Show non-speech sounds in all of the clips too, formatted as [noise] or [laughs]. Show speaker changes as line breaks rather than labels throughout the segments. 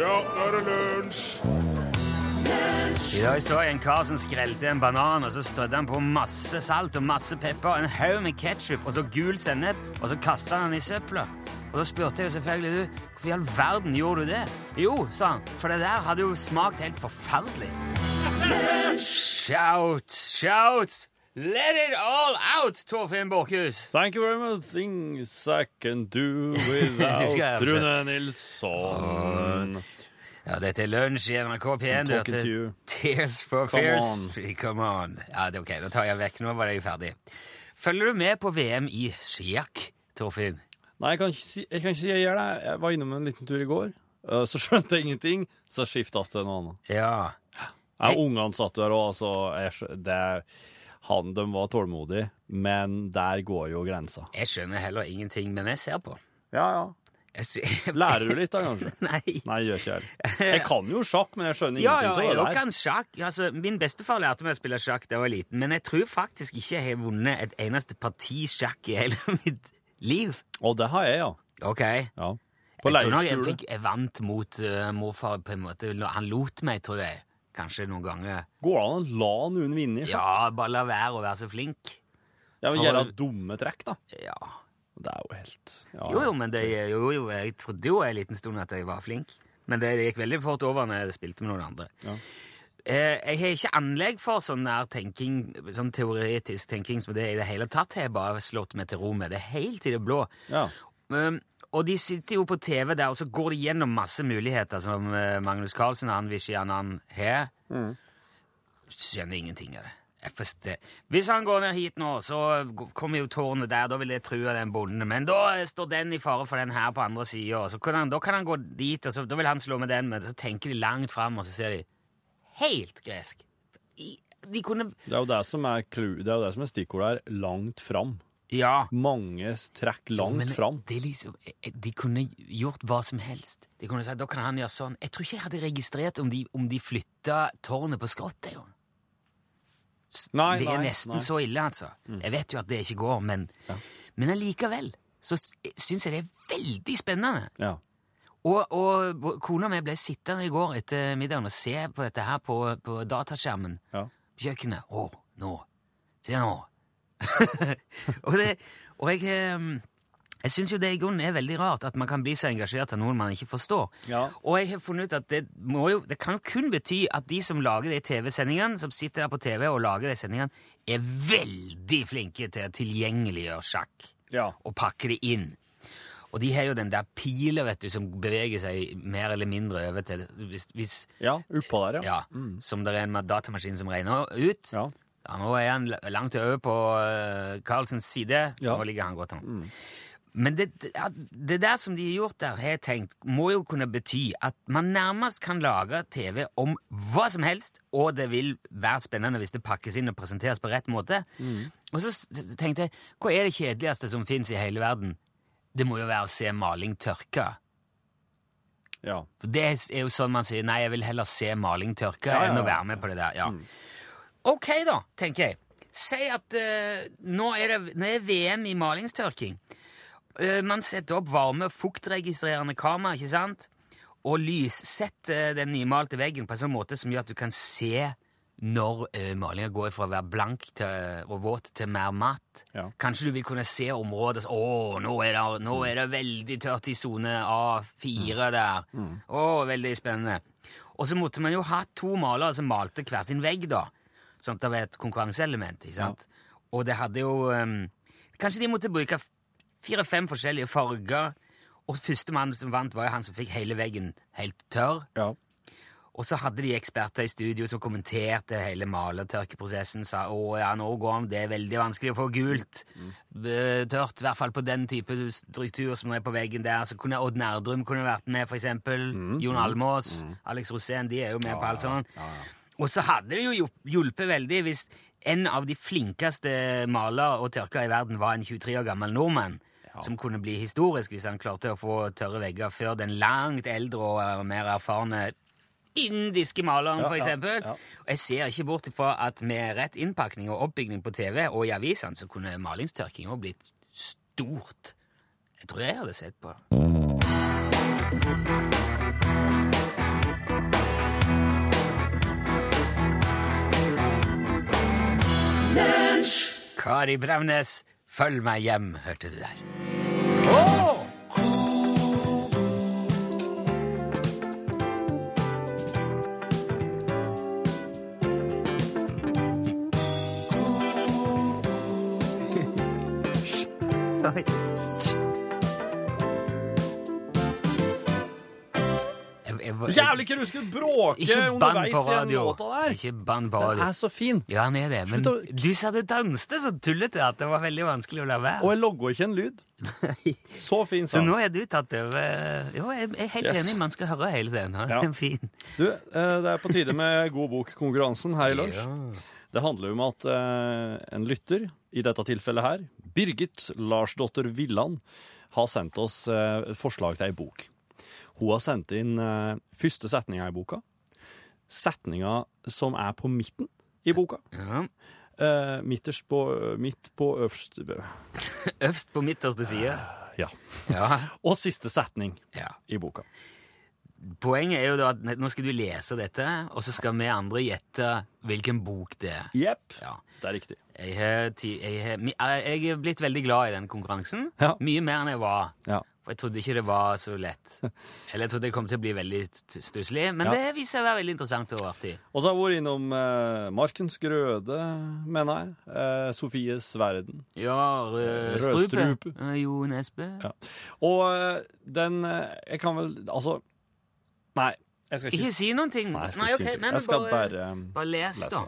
Ja, nå er det lunsj!
I dag så jeg en kar som skrelte en banan, og så strødde han på masse salt og masse pepper, en haug med ketsjup og så gul sennep, og så kasta han den i søpla. Og da spurte jeg jo selvfølgelig du, hvorfor i all verden gjorde du det? Jo, sa han, for det der hadde jo smakt helt forferdelig. Shout, shout! Let it all out, Torfinn Borchhus!
Thank you very much. Things I can
[laughs]
do
Du skal
without
hjem,
Rune Nilsson.
Ah. Ja, dette er lunsj i NRK P1.
I'm
Du
talking
hørte
to you.
Tears for
Come
Fears. [laughs] Come on. Ja, det er ok, da tar jeg vekk. Nå var jeg ferdig. Følger du med på VM i skiakk, Torfinn?
Nei, jeg kan ikke si jeg, kan ikke si jeg gjør det. Jeg var innom en liten tur i går. eh, Så skjønte jeg ingenting, så skiftes til noe annet.
Ja.
Jeg, ungene satt der òg, så jeg, skjø- det, han, de var tålmodige. Men der går jo grensa.
Jeg skjønner heller ingenting, men jeg ser på.
Ja, ja.
Jeg ser... [laughs]
Lærer du litt da, kanskje?
Nei.
Nei, jeg gjør ikke jeg. Jeg kan jo sjakk, men jeg skjønner
[laughs] Ja, ja,
ingenting
jeg
av det der.
kan sjakk. Altså, min bestefar lærte meg å spille sjakk da jeg var liten, men jeg tror faktisk ikke jeg har vunnet et eneste parti sjakk i hele [laughs] mitt liv.
Og det har jeg, ja.
Ok.
ja. På
jeg tror nok jeg,
leirskole.
fikk, jeg vant mot eh, morfar på en måte. Han lot meg, tror jeg. Kanskje noen ganger.
Går det an å la noen vinne? i sjakk?
Ja, bare la være å være så flink.
Ja, men
for-
Gjøre dumme trekk, da.
Ja.
Det er jo helt ja.
Jo, jo, men det, jo, jo, jeg trodde jo en liten stund at jeg var flink. Men det gikk veldig fort over når jeg spilte med noen andre.
Ja.
Eh, jeg har ikke anlegg for sånn nær tenking, sånn teoretisk tenking som det i det hele tatt. Jeg har bare slått meg til ro med det helt i det blå.
Ja.
Um, og de sitter jo på TV der, og så går de gjennom masse muligheter som eh, Magnus Carlsen og han Vishyanan har. Skjønner ingenting av det. Jeg forstår. Hvis han går ned hit nå, så g- kommer jo tårnet der, da vil det true den bonden. Men da eh, står den i fare for den her på andre sida, og så kan han, da kan han gå dit, og så, da vil han slå med den, men så tenker de langt fram, og så ser de helt gresk. I- De kunne
Det er jo det som er, clou- det er, jo det som er stikkordet her. Langt fram.
Ja.
Manges trekk langt
Men
fram.
Det er liksom, de kunne gjort hva som helst. De kunne sagt da kan han gjøre sånn. Jeg tror ikke jeg hadde registrert om de, om de flytta tårnet på skrottet. jo. S-
Nei,
det er
nei,
nesten
nei. Mm.
så ille, altså. Jeg vet jo at det ikke går, men, men allikevel så syns jeg det er veldig spennende.
Ja.
Og, og bo- kona mi ble sittende i går etter middagen og se på dette her på, på dataskjermen
ja.
på kjøkkenet. Å, nå. Se nå. [laughs] og det, og jeg, em, jeg syns jo det i grunnen er veldig rart at man kan bli så engasjert av noen man ikke forstår.
Ja.
Og jeg har funnet ut at det, må jo, det kan jo kun bety at de som lager de TV-sendingene, som sitter der på TV og lager de sendingene, er veldig flinke til å tilgjengeliggjøre sjakk
ja.
og pakke det inn. Og de har jo den der pila, vet du, som beveger seg mer eller mindre over til Hvis, hvis
ja. Oppå der, ja.
ja, som det er en datamaskin som regner ut.
Ja.
Ja, nå er han l- langt over på eh, Carlsens side.
Ja.
Nå ligger han godt an. Men det, det- ja, det der som de har gjort der, har jeg tenkt, må jo kunne bety at man nærmest kan lage TV om hva som helst, og det vil være spennende hvis det pakkes inn og presenteres på rett måte. Og så s- s- tenkte jeg, hva er det kjedeligste som fins i hele verden? Det må jo være å se maling tørke.
ja.
For Det er jo sånn man sier Nei, jeg vil heller se maling tørke
Ja, Mm. ja,
enn
ja.
å være med på det der. Ja. Ok, da, tenker jeg. Si at eh, nå, er det, nå er VM i malingstørking. Eh, man setter opp varme- og fuktregistrerende kamera, ikke sant? Og lyssetter eh, den nymalte veggen på en sånn måte som gjør at du kan se når uh, malinga går fra å være blank til, eh, og våt til mer matt.
Ja.
Kanskje du vil kunne se området så, Å, nå er, det, nå er det veldig tørt i sone A4 der. Å, veldig spennende. Og så måtte man jo ha to malere som malte hver sin vegg, da. Sånn at det var et konkurranseelement, ikke sant? Og det hadde jo ehm, Kanskje de måtte bruke f- fire-fem forskjellige farger. Og førstemann som vant, var jo han som fikk hele veggen helt tørr.
ja.
Og så hadde de eksperter i studio som kommenterte hele malertørkeprosessen. Sa å ja, nå går han, det er veldig vanskelig å få gult eh, tørt. I hvert fall på den type struktur som er på veggen der. Så kunne Odd Nerdrum kunne vært med, for eksempel. Jon Almås. Alex Rosén. De er jo med på alt sånt. Og så hadde det jo hjulpet veldig hvis en av de flinkeste malere og tørkere i verden var en 23 år gammel nordmann. Som kunne bli historisk hvis han klarte å få tørre vegger før den langt eldre og eh, mer erfarne indiske maleren,
Ja,
for
ja,
eksempel.
ja.
Og jeg ser ikke bort fra at med rett innpakning og oppbygning på TV og i avisene, så kunne malingstørking også blitt stort. Jeg tror jeg hadde sett på. Kari Bremnes, følg meg hjem, hørte du der.
[laughs]
Jeg- jeg- jeg-
Jævlig ikke du skulle bråke
Ikke bann på
underveis i den
radio.
låta der!
Ikke bann på
Den
radio.
er så fin.
Ja, han er det, men
Slutt å-
du sa du danste så tullete at det var veldig vanskelig å la
Og
være.
jeg logger ikke en
[laughs]
lyd. Så fin
Så
sang.
nå er du tatt over Jo, jeg jeg er helt
Yes.
enig, man skal høre hele den. Han
Ja.
er [laughs] fin.
Du, eh, det er på tide med God bok-konkurransen her i lunsj.
Ja.
Det handler jo om at eh, en lytter, i dette tilfellet her, Birgit Larsdotter Villand, har sendt oss eh, et forslag til ei bok. Hun har sendt inn eh, første setninga i boka, setninga som er på midten i boka,
Ja.
eh, midterst på, midt på øverst
Øverst på midterste side.
Ja.
Ja.
Og siste setning
ja.
i boka.
Poenget er jo da at nå skal du lese dette, og så skal vi andre gjette hvilken bok det er.
Jepp.
Ja.
Det er riktig.
Jeg, har ti- jeg, har- mi- eh, jeg er blitt veldig glad i den konkurransen.
Ja.
Mye mer enn jeg var.
Ja.
For jeg trodde ikke det var så
[laughs]
lett. Eller jeg trodde det kom til å bli veldig st- stusslig, men
Ja.
det viser seg å være veldig interessant og artig.
Og så har jeg vært innom eh, Markens Grøde, mener jeg. Eh, Sofies Verden.
Ja, Rød
Rødstrupe.
Strupe. Eh, Jo Nesbø.
Ja. Og eh, den eh, Jeg kan vel Altså Nei, jeg skal ikke,
Ikke si noen ting.
Nei, jeg skal, ikke si
ok,
noe.
men
jeg skal
bare,
bare um,
bare les, da.
lese.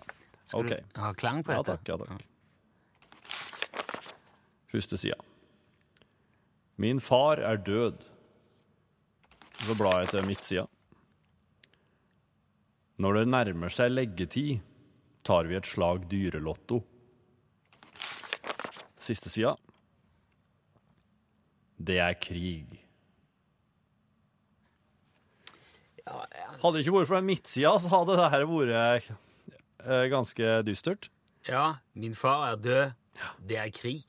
Skal
Ok.
du ha klang på
Ja
dette?
takk, ja takk. Første sida. Min far er død. Så blar jeg til midtsida. Når det nærmer seg leggetid, tar vi et slag dyrelotto. Siste sida. Det er krig. Hadde det ikke vært for den midtsida, så hadde det her vært eh, ganske dystert.
Ja, min far er død. Det er krig.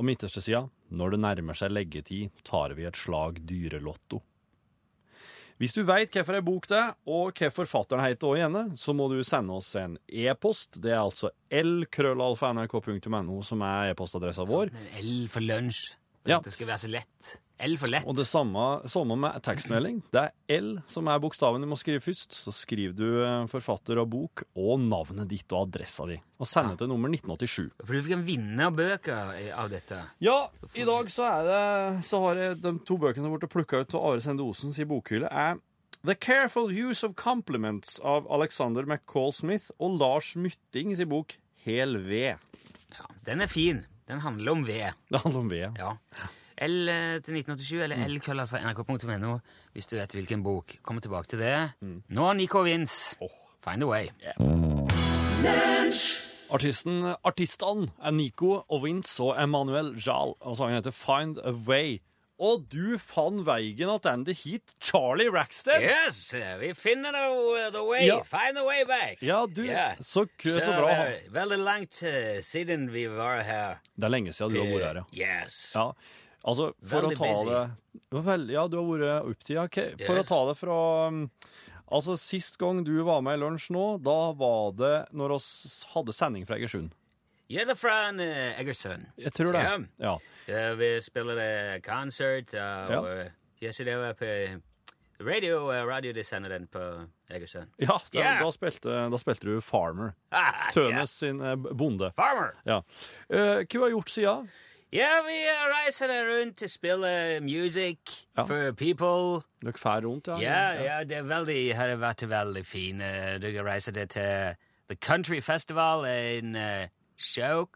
Og midterste sida, når det nærmer seg leggetid, tar vi et slag dyrelotto. Hvis du veit hvorfor ei bok det er, og hva forfatteren heter også igjen, så må du sende oss en e-post. Det er altså lkrøllalfa.nrk.no som er e-postadressa vår.
En L for lunsj.
Ja.
Det skal være så lett. L for lett.
Og det samme, samme med tekstmelding. Det er L som er bokstaven du må skrive først. Så skriver du eh, forfatter av bok og navnet ditt og adressa di. Og send det til nummer 1987.
For du kan vinne bøker i- av dette.
Ja, i dag så er det Så har jeg de to bøkene som ble plukka ut av Are Sende Osens i bokhylle, er The Careful Use of Compliments av Alexander McCall Smith og Lars Mytting sin bok Hel ved.
Ja, den er fin. Den handler om ved.
Det handler om ved.
Ja. L eh, til 1987, eller
Mm.
L køller fra nrk.no, hvis du vet hvilken bok. Kom tilbake til det.
Mm.
Nå Nico Vins. Find a way.
Artisten, artistene er Nico Ovins og Emmanuel Jal, og sangen heter Find a Way. Og du fann veien attende hit, Charlie Rackstead!
Yes, uh, vi finner the, the way.
Ja.
Find the way back.
Ja, du,
Ja.
så kø, så bra.
eh, Veldig langt eh, siden vi var her.
Det er lenge siden du har vært her, ja.
Yes.
Ja, altså for
Veldig
å ta
busy.
det Det var veldig, Ja, du har vært opptida. Ok, For
Ja.
å ta det fra um, Altså, Sist gang du var med i Lunsj nå, da var det når oss hadde sending fra Egersund.
Ja, det er fra en, eh, Egersund.
Jeg tror det. Ja.
Ja, vi spiller uh, konsert,
Ja.
og eh, jeg ser det var på radio, eh, radiodesenderen på Egersund.
Ja, da,
Ja.
Da, spilte, da spilte du Farmer.
Ah,
Tønes
ja.
sin eh, bonde.
Farmer!
Ja. Eh, hva har du gjort siden?
Ja, vi eh, reiser rundt og spiller music
Ja.
for people.
Dere fær rundt, ja?
Ja, ja, det er veldig, har vært veldig fin. eh, Du kan reise det til The Country Festival in uh, Sjok.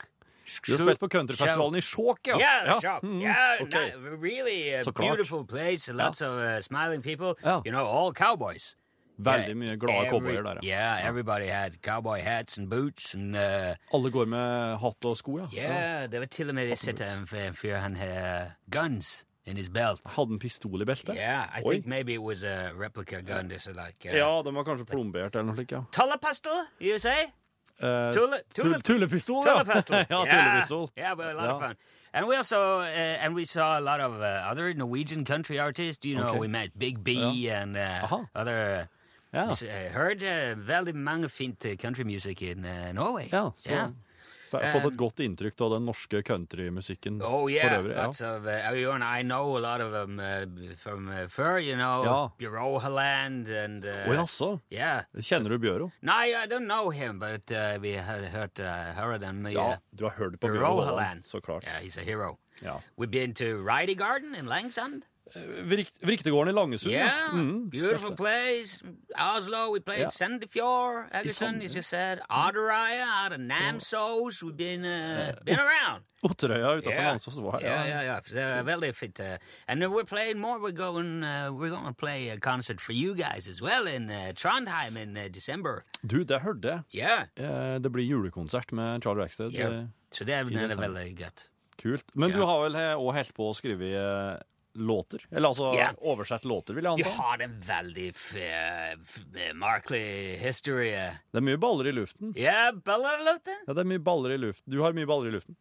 Du har spilt på countryfestivalen i Skjåk, ja?
Yeah,
Ja.
the Sjok.
Mhm.
Yeah,
Ok.
no, really a
Så klart.
beautiful place. Lots of uh, smiling people.
Ja.
You know, all cowboys.
Veldig
Yeah,
mye glade
every-
cowboyer der, ja.
Yeah, everybody had cowboy hats and boots and... Uh,
Alle går med hatt og sko, ja?
yeah, det var til og med jeg sett en f- en fyr han har guns in his belt.
Hadde en pistol i beltet?
Yeah, I
Oi.
think maybe it was a replica gun. This is like uh,
Ja, den var kanskje plombert eller noe slikt, ja.
Tullapistol, you say?
Eh,
Tulle- tulle-
tull- tullepistol, ja.
Tullapistol.
[laughs] ja, tullepistol.
Yeah, but a lot of
Ja.
fun. And we also uh, and we saw a lot of uh, other Norwegian country artists. You know,
Okay.
we met Big B and uh,
Aha.
other.
Ja.
s- Uh, heard uh, veldig mange fint uh, country music in uh, Norway.
Ja, så-
Yeah.
F- Fått et godt inntrykk av den norske countrymusikken
Eh. Oh yeah,
for øvrig.
lots of uh, you and I know a lot of them uh, from uh, Fur, you know,
Ja.
Bureau Holland and uh,
Å jaså?
yeah.
Kjenner du Bjøro?
No, I don't know him, but uh, we had heard uh, heard him. Uh,
Du har hørt på Bjøro
Bureau
Holland,
Holland.
så klart.
Yeah, he's a hero.
Ja. Eh,
We've been to Ridey Garden in Langsand.
Vrikt- Vriktegården i Langesund, ja.
Yeah,
Mm,
beautiful
største.
place. Oslo, we played
Yeah.
Sandefjord, Egersund,
Sand-
as you said. Otterøya, out of Namsos. We've been uh, been [laughs] around.
[laughs] Otterøya utenfor Landsås var
yeah, yeah, yeah. So, uh, very fit. Uh, and then we're playing more. We're going. Uh, we're going to play a concert for you guys as well in uh, Trondheim in uh, December.
Du, det hørte jeg.
Yeah,
Eh, Det blir julekonsert med Charlie Rackstead.
yeah.
Eh,
so they're
December.
very good.
Kult. Men du
Ja.
har vel òg holdt på å skrive eh, låter? Eller altså
Ja.
oversett låter, vil jeg
Du
anta.
har en veldig f- eh, f- merkelig historie.
Det er mye baller i luften.
Ja, ballerluten?
Ja, det er mye baller i luften. Du har mye baller i luften.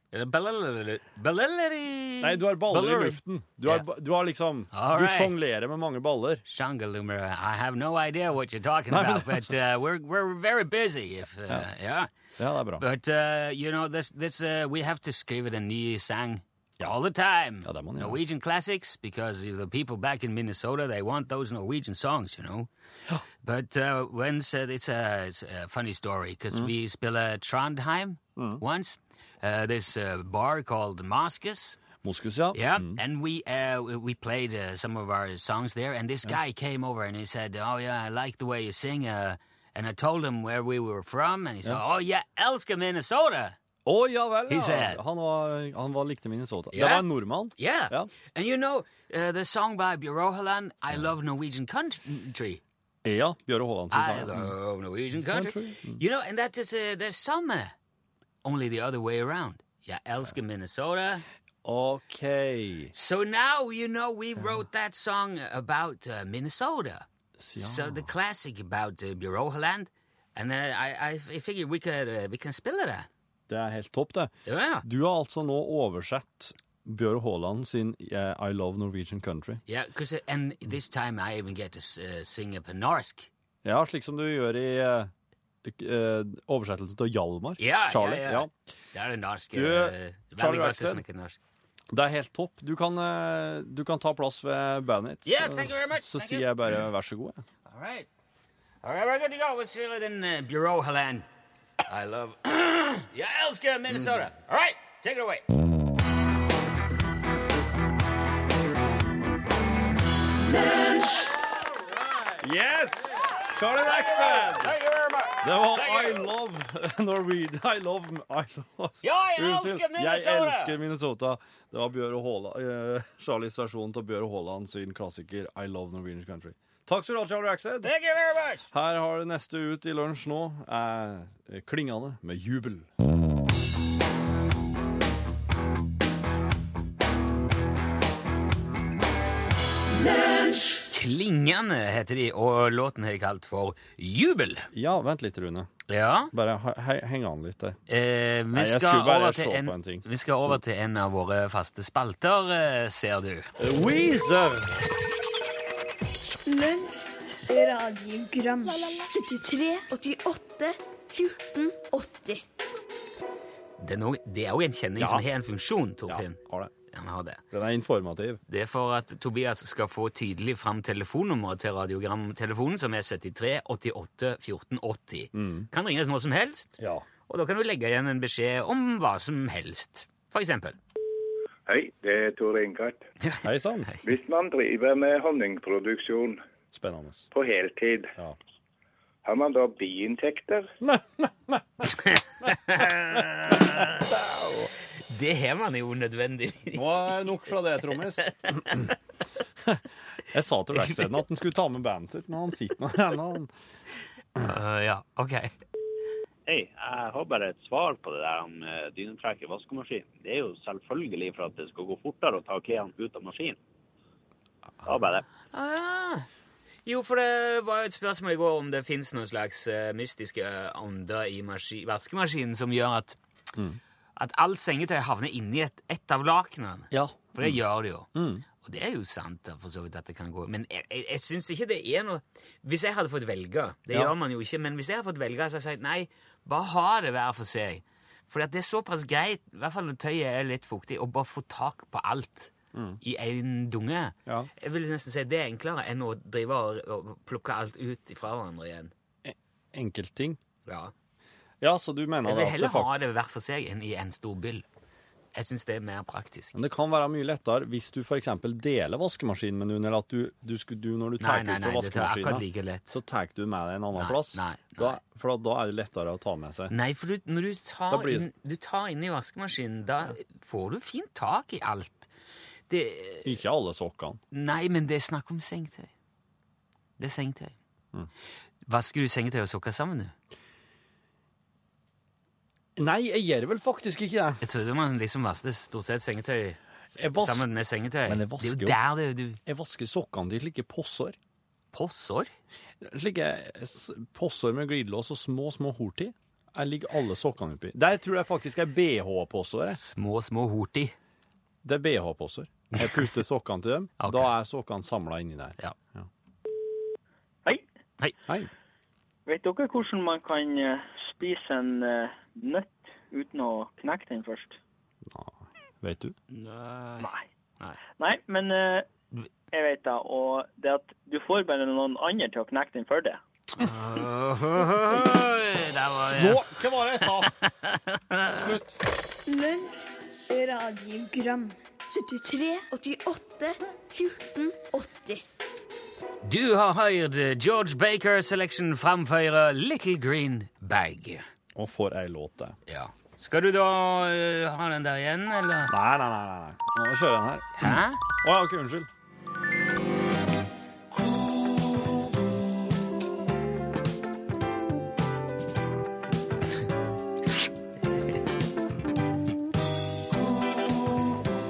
Ballerluten?
Nei, du har baller i luften. Du har,
Ja.
ba- du har liksom Du
Alright.
sjonglerer med mange baller.
Shangaloomer, I have no idea what you're talking
Nei, men
about, but uh, we're, we're very busy. If, uh, yeah.
Ja, det er bra.
But, uh, you know, this, this, uh, we have to skrive en ny sang all the time.
Ja, det må man gjøre.
Norwegian classics, because the people back in Minnesota, they want those Norwegian songs, you know. but uh, once, uh, it's, a, it's a funny story, because
Mm.
we spilled Trondheim once, uh, this uh, bar called Moscus.
Moskus, ja.
Yeah, and we uh, we- we played uh, some of our songs there, and this guy came over and he said, "Oh yeah, I like the way you sing." Uh, and I told him where we were from, and he said, "Oh yeah, elsker Minnesota."
Å ja vel,
He
ja.
said-
Han var, han var likte Minnesota.
Ja.
Det var en nordmann.
Yeah,
Ja.
and you know uh, the song by Björn Holland, "I Love Norwegian Country."
Ja, Bjøre Haaland sin
I
sang. ja.
love Norwegian country. Mm.
Country,
You know, and that is uh, there's summer, only the other way around. Yeah, elsker Minnesota.
OK.
So now you know we wrote that song about uh, Minnesota.
Ja.
So the classic about uh, Bureau Holland, and uh, I, I figured we could uh, we can spill it. uh,
Det er helt topp, det.
Yeah,
Du har altså nå oversett Bjøre Haaland sin eh, I Love Norwegian Country.
yeah, because and this time I even get to s- uh, sing a Panorsk.
Ja, slik som du gjør i eh, eh, oversettelsen til Hjalmar.
Ja, ja,
Charlie.
ja. Det er en norsk.
Du,
eh,
Charlie
veldig godt å
Rackstead.
snakke norsk.
Det er helt topp. Du kan, eh, du kan ta plass ved bandet ditt.
Yeah,
så-
thank you very much.
Så
Thank
sier
you.
jeg bare vær så god. jeg.
All right, all right, we're good to go. Let's feel it in uh, Bureau Holland. I love [coughs] Mm. yeah, Elska, Minnesota. All right, take it away.
Yes! Charlie Rackstead!
Thank you very much.
Det var
Thank
I
you.
love [laughs] Norwegian. I love I love
Ja, jeg elsker
Unnskyld, Jeg
Minnesota!
elsker Minnesota. Det var Bjøre Haaland, eh, [laughs] Charlies versjon av Bjøre Haaland sin klassiker I love Norwegian country. Takk skal du ha, Charlie Rackstead.
Thank you very much.
Her har det neste ut i lunsj nå er Klingende med jubel.
Klingende heter de, og låten har de kalt for Jubel.
Ja, vent litt, Rune.
Ja.
Bare he- he- heng an litt der.
Eh, vi,
jeg
skal
skulle bare
over
se
til en,
på en ting.
vi skal over til en av våre faste spalter, eh, ser du.
Weezer!
Lunsj, radiogram 73, 88, 14, 80
Det er, noe, det er jo en kjenning
Ja.
som har en funksjon,
Ja,
Torfinn.
har det.
Han har det.
Den er informativ.
Det er for at Tobias skal få tydelig fram telefonnummeret til radiogramtelefonen, som er 73 88 14 80.
Mm.
Kan ringes når som helst,
Ja.
og da kan du legge igjen en beskjed om hva som helst. For eksempel.
Hei, det er Tore Innkart.
Hei sann.
Hvis man driver med honningproduksjon
Spennende.
på heltid,
Ja.
har man da biintekter?
Det har man jo nødvendigvis.
Nå er det nok fra det, Trommis. Jeg sa til Racksteaden at han skulle ta med bandet sitt, men han sitter med den. Han.
[laughs] Eh, ja, ok.
Hei, jeg har bare et svar på det der om eh, dynetrekk i vaskemaskin. Det er jo selvfølgelig for at det skal gå fortere å ta klærne ut av maskinen. Da bare det.
Ah, jo, for det var jo et spørsmål i går om det fins noen slags eh, mystiske ånder i maski- vaskemaskinen som gjør at, at alt sengetøy havner inni et, ett av lakenene.
Ja. Mm.
For det gjør det jo. Og det er jo sant, da, for så vidt at det kan gå. Men jeg, jeg, jeg syns ikke det er noe Hvis jeg hadde fått velge Det
Ja.
gjør man jo ikke, men hvis jeg hadde fått velge, så hadde jeg sagt nei, bare ha det hver for seg. Fordi at det er såpass greit, i hvert fall når tøyet er litt fuktig, å bare få tak på alt i en dunge.
Mm. Ja.
Jeg vil nesten si det er enklere enn å drive og, og plukke alt ut fra hverandre igjen.
Enkeltting.
Ja.
Ja, så du mener
Jeg vil
at det
heller ha det
faktisk
hver for seg enn i en stor byll. Jeg syns det er mer praktisk.
men det kan være mye lettere hvis du for eksempel deler vaskemaskinen med noen, eller at du, du, skulle- du når du
Nei,
tar ut
nei,
fra
nei, det er akkurat
vaskemaskinen,
like lett.
så tar du med deg en annen
Nei,
plass.
nei, nei.
Da, for da er det lettere å ta med seg.
Nei, for du, når du tar,
Da blir-
inn, du tar inn i vaskemaskinen, da får du fint tak i alt. Det,
Ikke alle sokkene.
nei, men det er snakk om sengetøy. Det er sengetøy.
Mm.
Vasker du sengetøy og sokker sammen, du?
Nei, jeg gjør vel faktisk ikke det.
Jeg trodde man liksom vasket stort sett sengetøy s-
Jeg vask-
sammen med sengetøy.
Men jeg
det er
vasker jo-
jo der det er du
Jeg vasker sokkene til slike possår.
Possår?
Slike s- possår med glidelås og små, små hort i. Jeg ligger alle sokkene oppi. Der tror jeg faktisk er BH-possår. jeg.
Små, små horti.
Det er BH-poser. Jeg putter sokkene til dem.
[laughs] Ok.
Da er sokkene samla inni der.
Ja.
Hei,
Hei.
vet dere hvordan man kan eh, spise en eh, nøtt uten å knekke den først?
Vet du?
Nei.
Nei.
Nei, men eh, jeg vet da, og det at du får bare noen andre til å knekke den for deg.
Der var det.
Nå, hva var det jeg sa? Slutt.
Lunsj, radiogram 73, 88, 14, 80
Du har hørt George Baker Selection framføre Little Green Bag.
Og for ei låt, det.
Ja. Skal du da eh, ha den der igjen, eller?
Nei, nei, nei. nei. nei. Nå kjører jeg den her.
Hæ?
Å ja, ok, unnskyld.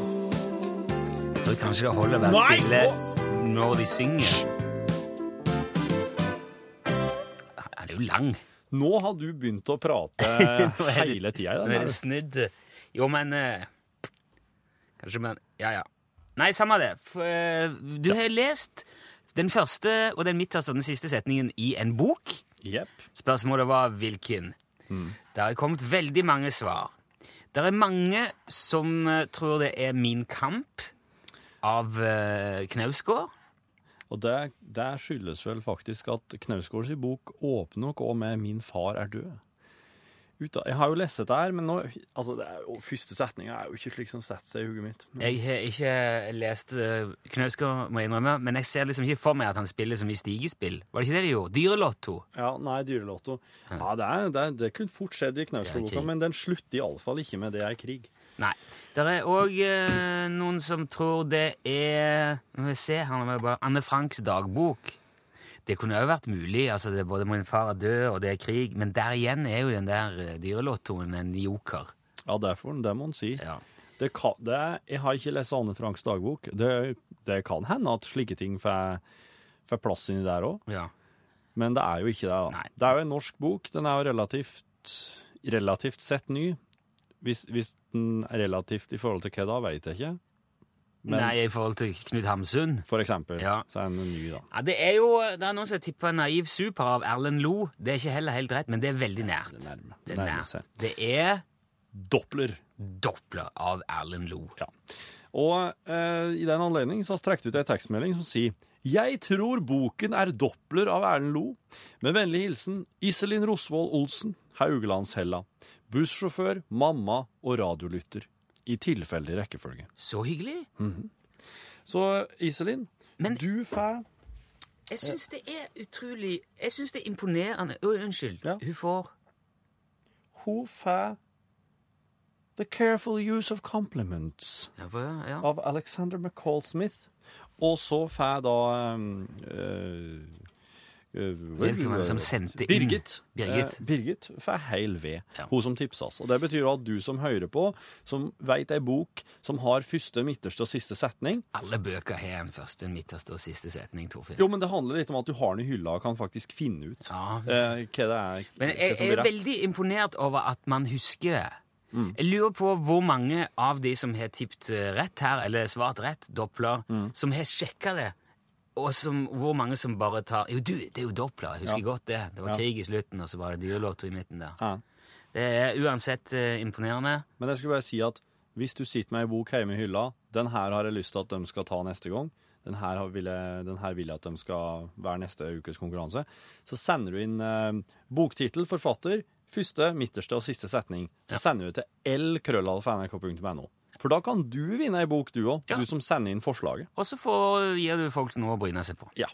Jeg tror kanskje det holder å være
Nei,
stille når de synger. Han er jo lang.
Nå har du begynt å
[laughs]
prate hele tida i
Nå er
den
det
her.
snudd. Jo, men eh, Kanskje men Ja, ja. Nei, samme det. F- eh, Du har lest den første og den midterste og den siste setningen i en bok.
Jepp.
Spørsmålet var hvilken. Det har kommet veldig mange svar. Det er mange som eh, tror det er Min kamp av eh, Knausgård.
Og det, det skyldes vel faktisk at Knausgårds bok åpner nok òg med 'Min far er død'. Ut av, jeg har jo lest dette her, men nå, altså det er, jo- første setninga er jo ikke slik som setter seg i hodet mitt.
Jeg har ikke lest eh, Knausgård, må jeg innrømme, men jeg ser liksom ikke for meg at han spiller så mye stigespill. Var det ikke det de gjorde? Dyrelotto.
Ja, nei, dyrelotto. Ja, det, er, det, er, det kunne fort skjedd i
Det er
Knausgård-boka,
krig.
men den slutter iallfall ikke med 'det er krig'.
Nei. Det er òg eh, noen som tror det er Må vi se, her må jeg bare Anne Franks dagbok. Det kunne òg vært mulig. altså det er Både min far er død, og det er krig. Men der igjen er jo den der eh, dyrelottoen en joker.
Ja, derfor, det må en si.
Ja.
Det kan, det, jeg har ikke lest Anne Franks dagbok. Det, det kan hende at slike ting får, får plass inni der òg,
ja.
men det er jo ikke det. da.
Nei.
Det er jo en norsk bok. Den er jo relativt, relativt sett ny. Hvis, hvis den er relativt i forhold til hva da, vet jeg ikke. Men
Nei, i forhold til Knut Hamsun.
for eksempel,
Ja.
så er den ny, da.
Ja, Det er jo, det er noen som tipper Naiv super av Erlend Lo. Det er ikke heller helt rett, men det er veldig nært.
Det nærmer-
Det er
nærmer
nært.
seg.
Det er
Doppler.
Doppler av Erlend Lo.
Ja. Og eh, i den anledning så har jeg strekt ut ei tekstmelding som sier Jeg tror boken er Doppler av Erlend Lo. Med vennlig hilsen Iselin Rosvold Olsen, Haugelandshella. Bussjåfør, mamma og radiolytter. I tilfeldig rekkefølge.
Så hyggelig.
Så Iselin,
Men-
du får
Jeg syns det er utrolig Jeg syns det er imponerende Å, Unnskyld.
Ja.
Hun får
Hun får The Careful Use of Compliments
Ja, hva- ja.
av Alexander McCall Smith. Og så får da um, eh,
Vet ikke hvem som sendte inn.
Birgit.
Birgit.
Eh, Birgit får heil ved,
Ja.
hun som tipsa oss. Og Det betyr at du som hører på, som veit ei bok som har første, midterste og siste setning
Alle bøker har en første, en midterste og siste setning, Torfinn.
Jo, men det handler litt om at du har den i hylla og kan faktisk finne ut
Ja,
eh, hva det er
Men
hva
jeg,
som
jeg
blir
er
rett.
veldig imponert over at man husker det.
Mm.
Jeg lurer på hvor mange av de som har tippet eh, rett her, eller svart rett, Doppler,
Mm.
som har sjekka det, og som, hvor mange som bare tar Jo, du, det er jo Doppler, jeg husker
Ja.
godt det. Det var
Ja.
krig i slutten, og så var det dyrelotto i midten der.
Ja.
Det er uansett eh, imponerende.
Men jeg skulle bare si at hvis du sitter med ei bok hjemme i hylla, den her har jeg lyst til at de skal ta neste gang, den her, har- vil jeg, den her vil jeg at de skal være neste ukes konkurranse, så sender du inn eh, boktittel, forfatter, første, midterste og siste setning. Så sender du til lkrøllalfa.nrk.no. For da kan du vinne ei bok, du òg,
Ja.
du som sender inn forslaget.
Og så får- gir du folk noe å bryne seg på.
Ja.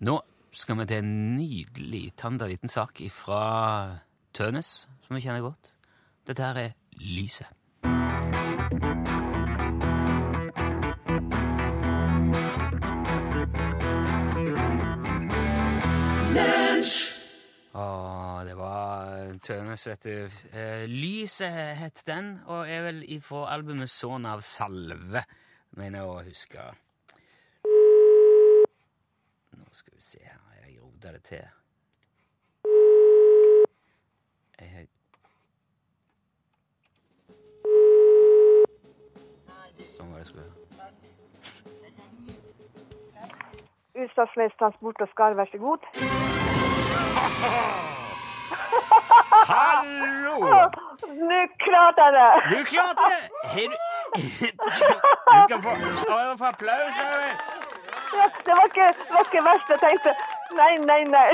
Nå skal vi til en nydelig tanda liten sak fra Tønes, som vi kjenner godt. Dette her er Lyset. Åh, det var Tønes, vet du. Eh, Lyset het den, og er vel ifra albumet Son av Salve, mener jeg å huske. Nå skal vi se her, jeg roter det til. Jeg har Sånn var det jeg skulle
Utslagsnes Transport og Skar, vær så god.
Hallo!
Nå klarte jeg det!
Du klarte det! Har du Du skal få, Å, jeg må få applaus, Øyvind!
Det var ikke, det var ikke verst. Jeg tenkte nei, nei, nei.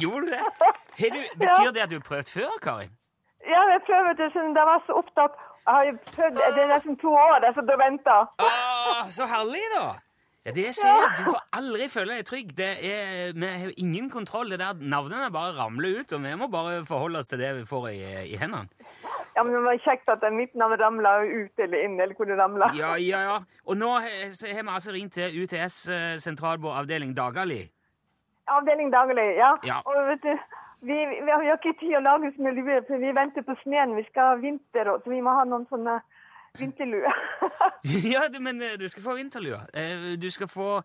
Gjorde du det? Har du, betyr det at du har prøvd før, Karin?
Ja, men jeg prøver til siden jeg var så opptatt. Jeg har jo prøvd, Det er nesten to år jeg satt og venta.
Åh, Ah, så herlig, da! Ja, det jeg sier, Du får aldri føle deg trygg. Det er, vi har jo ingen kontroll. Det der Navnene bare ramler ut, og vi må bare forholde oss til det vi får i, i hendene.
Ja, men det var kjekt at mitt navn ramla ut eller inn, eller hvor det ramla.
Ja, ja, ja. Og nå he- så har vi altså ringt til UTS eh, sentralbordavdeling Dagali. [laughs]
Avdeling daglig, ja.
Ja.
Og vet du, vi, vi har jo ikke tid å lage så mye luer, for vi venter på sneen. Vi skal ha vinter, og- så vi må ha noen sånne [laughs] vinterluer.
ja, du, men eh, du skal få vinterlua. Eh, Du skal få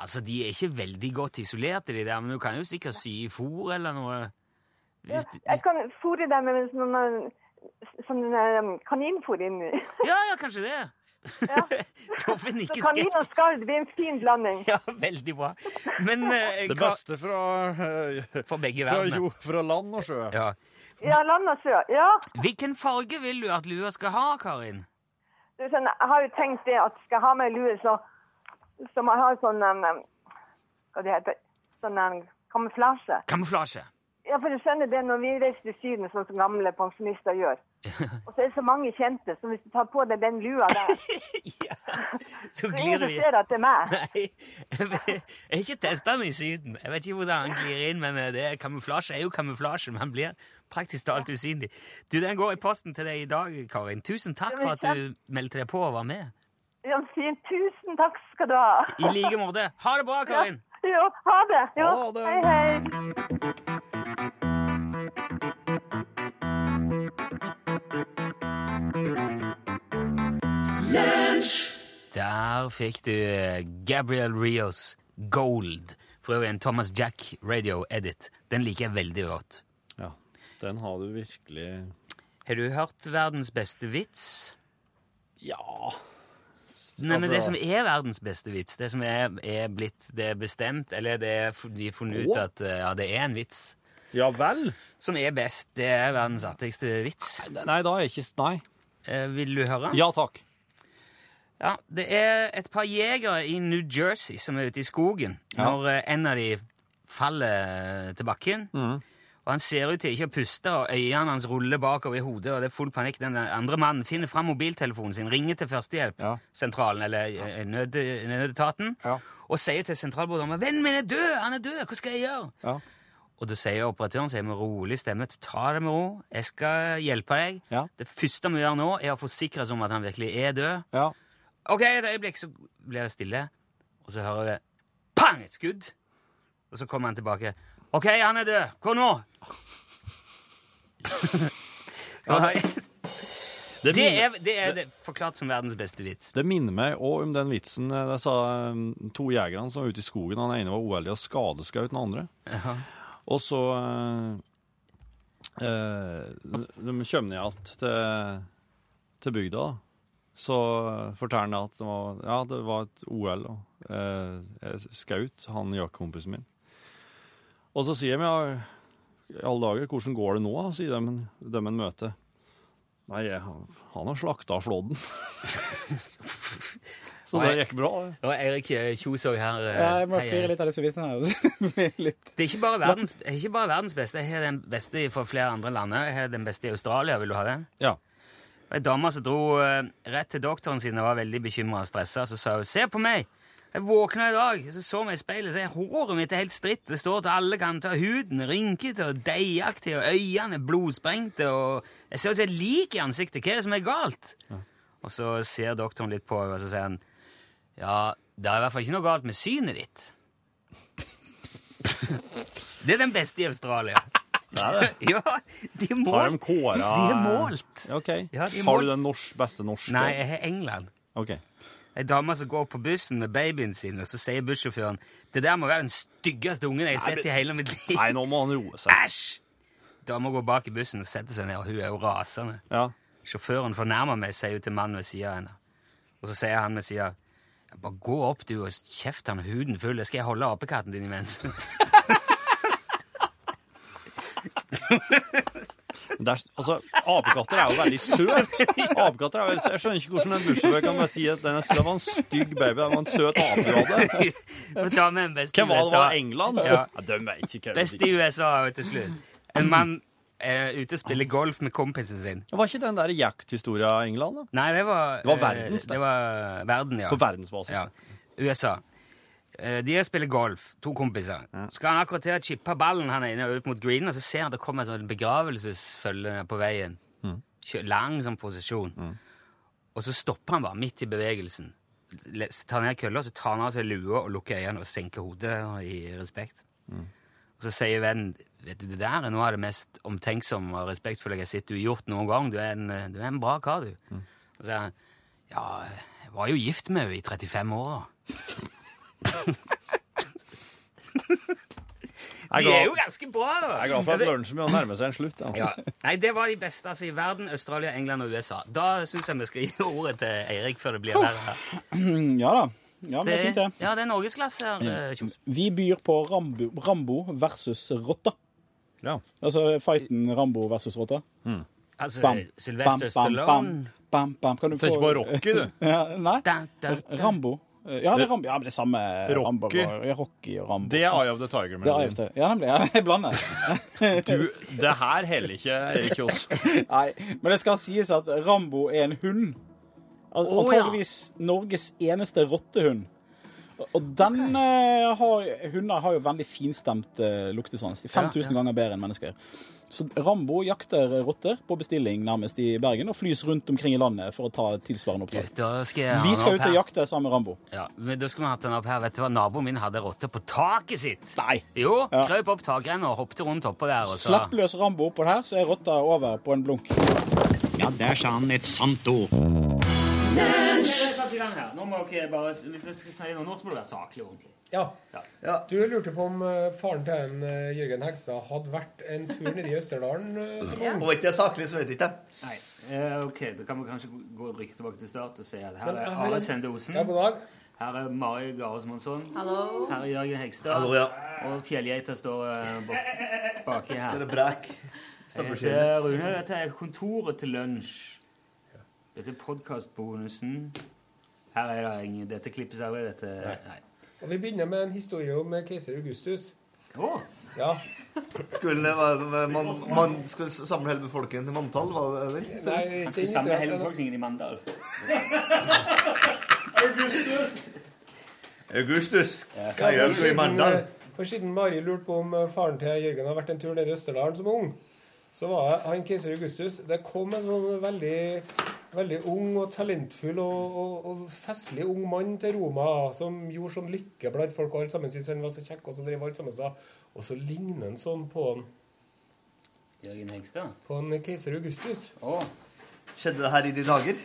Altså, de er ikke veldig godt isolerte, de der, men du kan jo sikkert sy i fôr eller noe. Hvis du,
Jeg
hvis,
kan fôre dem med sånn sånn, eh, kaninfôr inni.
ja, ja, kanskje det. [laughs] Torfinn
Så
nikker
kanin og
skeptisk.
skall blir en fin blanding.
[laughs] Ja, veldig bra. Men eh,
Det
hva,
beste fra, eh,
For begge fra verdener. jo-
[laughs] land og sjø.
ja.
Ja, land og sjø. Ja.
Hvilken farge vil du at lua skal ha, Karin?
Det er sånn, jeg har jo tenkt det at skal jeg ha meg lue, så, så må jeg ha sånn em, em, Hva det heter Sånn em, kamuflasje.
Kamuflasje.
Ja, for du skjønner det, når vi reiser til Syden, sånn som gamle pensjonister
[laughs]
gjør Og så er det så mange kjente, så hvis du tar på deg den lua
[laughs]
der, så
Så
er
glir
det
du
ser at det er
[laughs]
meg.
Nei, jeg vet- jeg har ikke testa den i Syden. Jeg vet ikke hvordan han glir inn, men eh, det er kamuflasje er jo kamuflasje. Man blir praktisk talt usynlig. Du, Den går i posten til deg i dag, Karin. Tusen takk for at du meldte deg på og var med.
Ja, fint. Tusen takk skal du ha.
I like måte. Ha det bra, Karin.
[laughs] Jo, ha det. Jo,
Ha det.
hei, hei.
Der fikk du eh, Gabriel Rios Gold. For øvrig en Thomas Jack Radio Edit. Den liker jeg veldig godt.
Ja, den har du virkelig
Har du hørt verdens beste vits?
Ja.
Nei, men
Altså-
Det som er verdens beste vits, det som er, er blitt det er bestemt, eller det er f- de har funnet ut
Åh.
at eh, ja, det er en vits
Ja vel?
som er best, det er verdens artigste vits.
Nei, da er jeg ikke Nei.
Eh, vil du høre?
Ja takk.
Ja, Det er et par jegere i New Jersey som er ute i skogen
Ja.
når eh, en av de faller eh, til bakken.
Mm.
Og Han ser ut til ikke å puste, og øynene hans ruller bakover i hodet. og det er full panikk. Den andre mannen finner fram mobiltelefonen sin, ringer til
Ja.
førstehjelpsentralen eller eh, nød, nødetaten
Ja.
og sier til sentralbordet 'Vennen min er død! Han er død! Hva skal jeg gjøre?'
Ja.
Og da sier operatøren sier med rolig stemme «Du tar det med ro, jeg skal hjelpe deg.
Ja.
Det første vi gjør nå, er å forsikre oss om at han virkelig er død.
ja.
Ok, et øyeblikk, så blir det stille, og så hører vi pang, et skudd. Og så kommer han tilbake. Ok, han er død. Hva nå?
Det,
[laughs] Det
minner,
er, det er det forklart som verdens beste vits.
det minner meg òg om den vitsen eh, der sa eh, to jegerne som var ute i skogen. Han ene var uheldig og skadeskaut den andre. Og så eh, eh, De kommer ned igjen til, til bygda. da. Så forteller han at det var, ja, det var et OL. Og, eh, jeg skaut han jaktkompisen min. Og så sier vi ja, i alle dager, hvordan går det nå, da?" sier dem, dem en møter. Nei, jeg, han har slakta flåden. [laughs] så det gikk bra. det.
Og Eirik eh, Kjos òg her. eh,
Ja, jeg må
hei,
flire
Eirik.
litt av disse vitsene her. så blir jeg litt-
Det er ikke bare verdens, jeg er ikke bare verdens beste. Jeg har den beste fra flere andre land. Jeg har den beste i Australia. Vil du ha den?
Ja.
Det var En dame som dro eh, rett til doktoren sin og var veldig bekymra og stressa, så sa hun 'Se på meg! Jeg våkna i dag, så så meg i speilet, så er håret mitt er helt stritt. Det står til alle kanter. Huden er rynkete og deigaktig, og øynene er blodsprengte. og Jeg ser ut som et lik i ansiktet. Hva er det som er galt? Og så ser doktoren litt på henne, og så sier han Ja, det er i hvert fall ikke noe galt med synet ditt. Det er den beste i Australia. [laughs] ja, de er
Har de
målt.
kåra
De er målt.
Ja, OK.
Ja, de er
har
målt.
du den norsk, beste norske?
Nei, jeg har England.
OK.
Ei dame som går på bussen med babyen sin, og så sier bussjåføren Det der må være den styggeste ungen jeg har sett i hele mitt liv.
Nei, nå må han roe seg.
Æsj! Dama går bak i bussen og setter seg ned, og hun er jo rasende.
Ja.
Sjåføren fornærmer meg, sier hun til mannen ved sida av henne. Og så sier han ved sida Bare gå opp, du, og kjeft han huden full. Jeg skal holde apekatten din imens. [laughs]
Men Det er, altså, apekatter er jo veldig søt. Apekatter er jo, Jeg skjønner ikke hvordan en bursdagsbøker kan bare si at den skulle være en stygg baby. Det var en søt ape du
[laughs]
hadde.
Og ta med en best i
Hvem var det?
USA.
Var det England?
Ja.
de vet ikke. hvem
Best
de-
i USA jo, til slutt. En mann eh, ute og spiller golf med kompisen sin.
Var ikke den der jakthistoria av England, da?
Nei, det var eh,
Det var verdens,
det.
det.
Det var verden, ja.
På verdensbasis.
Ja. USA. Eh, De spiller golf, to kompiser. Skal han akkurat til å chippe ballen han ene ut mot greenen, og så ser han det kommer en sånn begravelsesfølge på veien. Kjø- Lang sånn posisjon. Og så stopper han bare midt i bevegelsen. Le- Tar ned kølla, så tar han av seg lua og lukker øynene og senker hodet i respekt. Og så sier vennen Vet du, det der er noe av det mest omtenksomme og respektfulle jeg har sett du har gjort noen gang. Du er en, eh, du er en bra kar, du. Og så sier han Ja, jeg var jo gift med henne i 35 år, da.
Jeg
De er
er
jo
glad,
ganske bra, da!
jeg er glad for at lunsjen begynner å nærme seg en slutt. Ja.
Ja. Nei, det var de beste altså, i verden. Australia, England og USA. Da syns jeg vi skal gi ordet til Eirik før det blir verre.
Ja da. Ja, men det er fint, det. Mm.
ja, det er norgesklasse her. eh, Kjos.
Vi byr på Rambo, Rambo versus rotta.
Ja.
Altså fighten Rambo versus rotta.
Altså
Bam, bam,
Sylvester
bam,
Stallone.
Bam, bam. Kan du få
Tenker på Rocky, du.
Ja, nei.
Da, da, da.
Rambo. Eh, Ja, det er Rambo. Ja, men det er samme Rambo.
Rocky.
Ja, Rocky og Rambo.
[laughs] Det er Eye of the Tiger.
Det er AFT. Ja, nemlig. Ja, jeg blander.
Du, det her heller ikke Erik Kjos.
[laughs]
Nei, men det skal sies at Rambo er en hund. Al
Å,
antageligvis Norges eneste rottehund. Og- Og den eh, har, hunder har jo veldig finstemt eh, luktesans. De er 5000
Ja, ja.
ganger bedre enn mennesker. Så Rambo jakter rotter på bestilling nærmest i Bergen og flys rundt omkring i landet for å ta tilsvarende
Du,
oppdrag.
Da skal jeg ha
Vi
en au
skal ut
pair.
og jakte sammen med Rambo.
Ja, men da skal vi ha hatt en au pair. Vet du hva, naboen min hadde rotte på taket sitt.
Nei!
Jo,
Ja.
krøp opp takrenna og hoppte rundt oppå der. Og så.
Slipp løs Rambo oppå der, så er rotta over på en blunk.
Ja, der sa han et sant ord.
Nå må dere bare, Hvis dere skal si noe nå, så må det være saklig og ordentlig.
Ja. Du lurte på om eh, faren til en eh, Jørgen Hegstad hadde vært en tur nede i Østerdalen? eh, som ung?
Og ikke det er saklig, så vet jeg ikke.
Nei, eh, ok, Da kan vi kanskje gå- gå og rykke tilbake til start og si at her
Men,
er
eh, her er-
Are Sende Osen.
Ja, god dag.
Her er Mari Garasmonsson.
Hallo.
Her er Jørgen Hegstad.
Hallo, ja.
Og fjellgeita står eh, bak, baki
Så er
her.
det brekk.
Jeg
Stemmeskiver.
heter Rune. Dette er Kontoret til lunsj. Dette er podkastbonusen. Her er det ingen Dette klippes aldri, dette Nei.
Og vi begynner med en historie om eh, keiser Augustus.
Å,
Ja.
Skulle det være man, man skal samle hele befolkningen til manntall, var det vel? Så-
Nei,
han
den
skulle samle
historien-
hele befolkningen i Mandal.
Augustus, hva gjør du i Mandal?
eh, For siden Mari lurte på om eh, faren til Jørgen har vært en tur nede i Østerdalen som ung, så var det han keiser Augustus. Det kom en sånn veldig, veldig ung og talentfull og, og, og festlig ung mann til Roma som gjorde sånn lykke blant folk, og alt sammen syntes han var så kjekk, og så drev alt sammen sa Og så ligner han sånn på, han-
Jørgen Hegstad.
på en keiser Augustus.
Å,
Skjedde det her i de dager?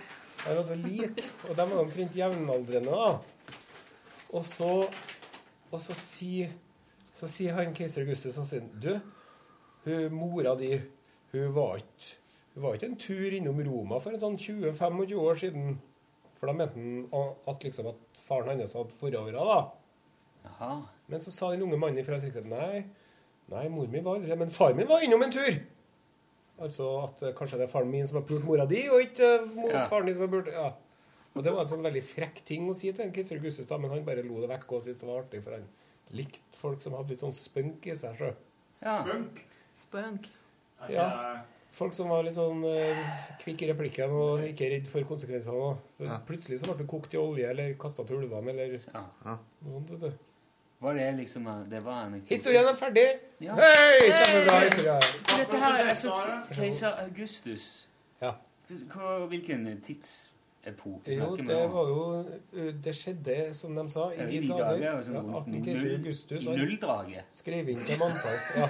Han var så altså lik, og de var omtrent jevnaldrende, da. Og så, og så sier så sier han keiser Augustus han sier, Du, hun, mora di, hun var ikke hun var ikke en tur innom Roma for en sånn 20-25 år siden. For da mente han a- at, liksom, at faren hans hadde forarra, da.
jaha.
Men så sa den unge mannen ifra siktet Nei, Nei, mor mi var aldri det, men far min var innom en tur. Altså at eh, kanskje det er faren min som har pult mora di, og ikke eh, mor,
Ja.
faren din som har pult ja. Og det var en sånn veldig frekk ting å si til en Kisser Augustus, da, men han bare lo det vekk og syntes det var artig, for han likte folk som hadde litt sånn spunk i seg sjøl.
Spunk. Spunk.
Ja. Folk som var litt sånn eh, kvikk i replikken og ikke redd for konsekvensene. og for
Ja.
Plutselig så ble du kokt i olje eller kasta til ulvene eller noe sånt, vet du.
Var det liksom eh, Det var en
Historien er ferdig!
Ja.
Hei! Kjempebra!
Hey!
historie.
For Dette her er altså keiser Augustus.
Ja.
Hva, hvilken tidsepoke
Jo,
snakker vi
det
om?
var jo ø, Det skjedde, som de sa,
Det er
i
jo de
de dager.
dager, altså,
Ja,
rundt
18 keiser
null-
Augustus. altså.
i
han
nulldraget.
Skrev inn til manntall. Ja.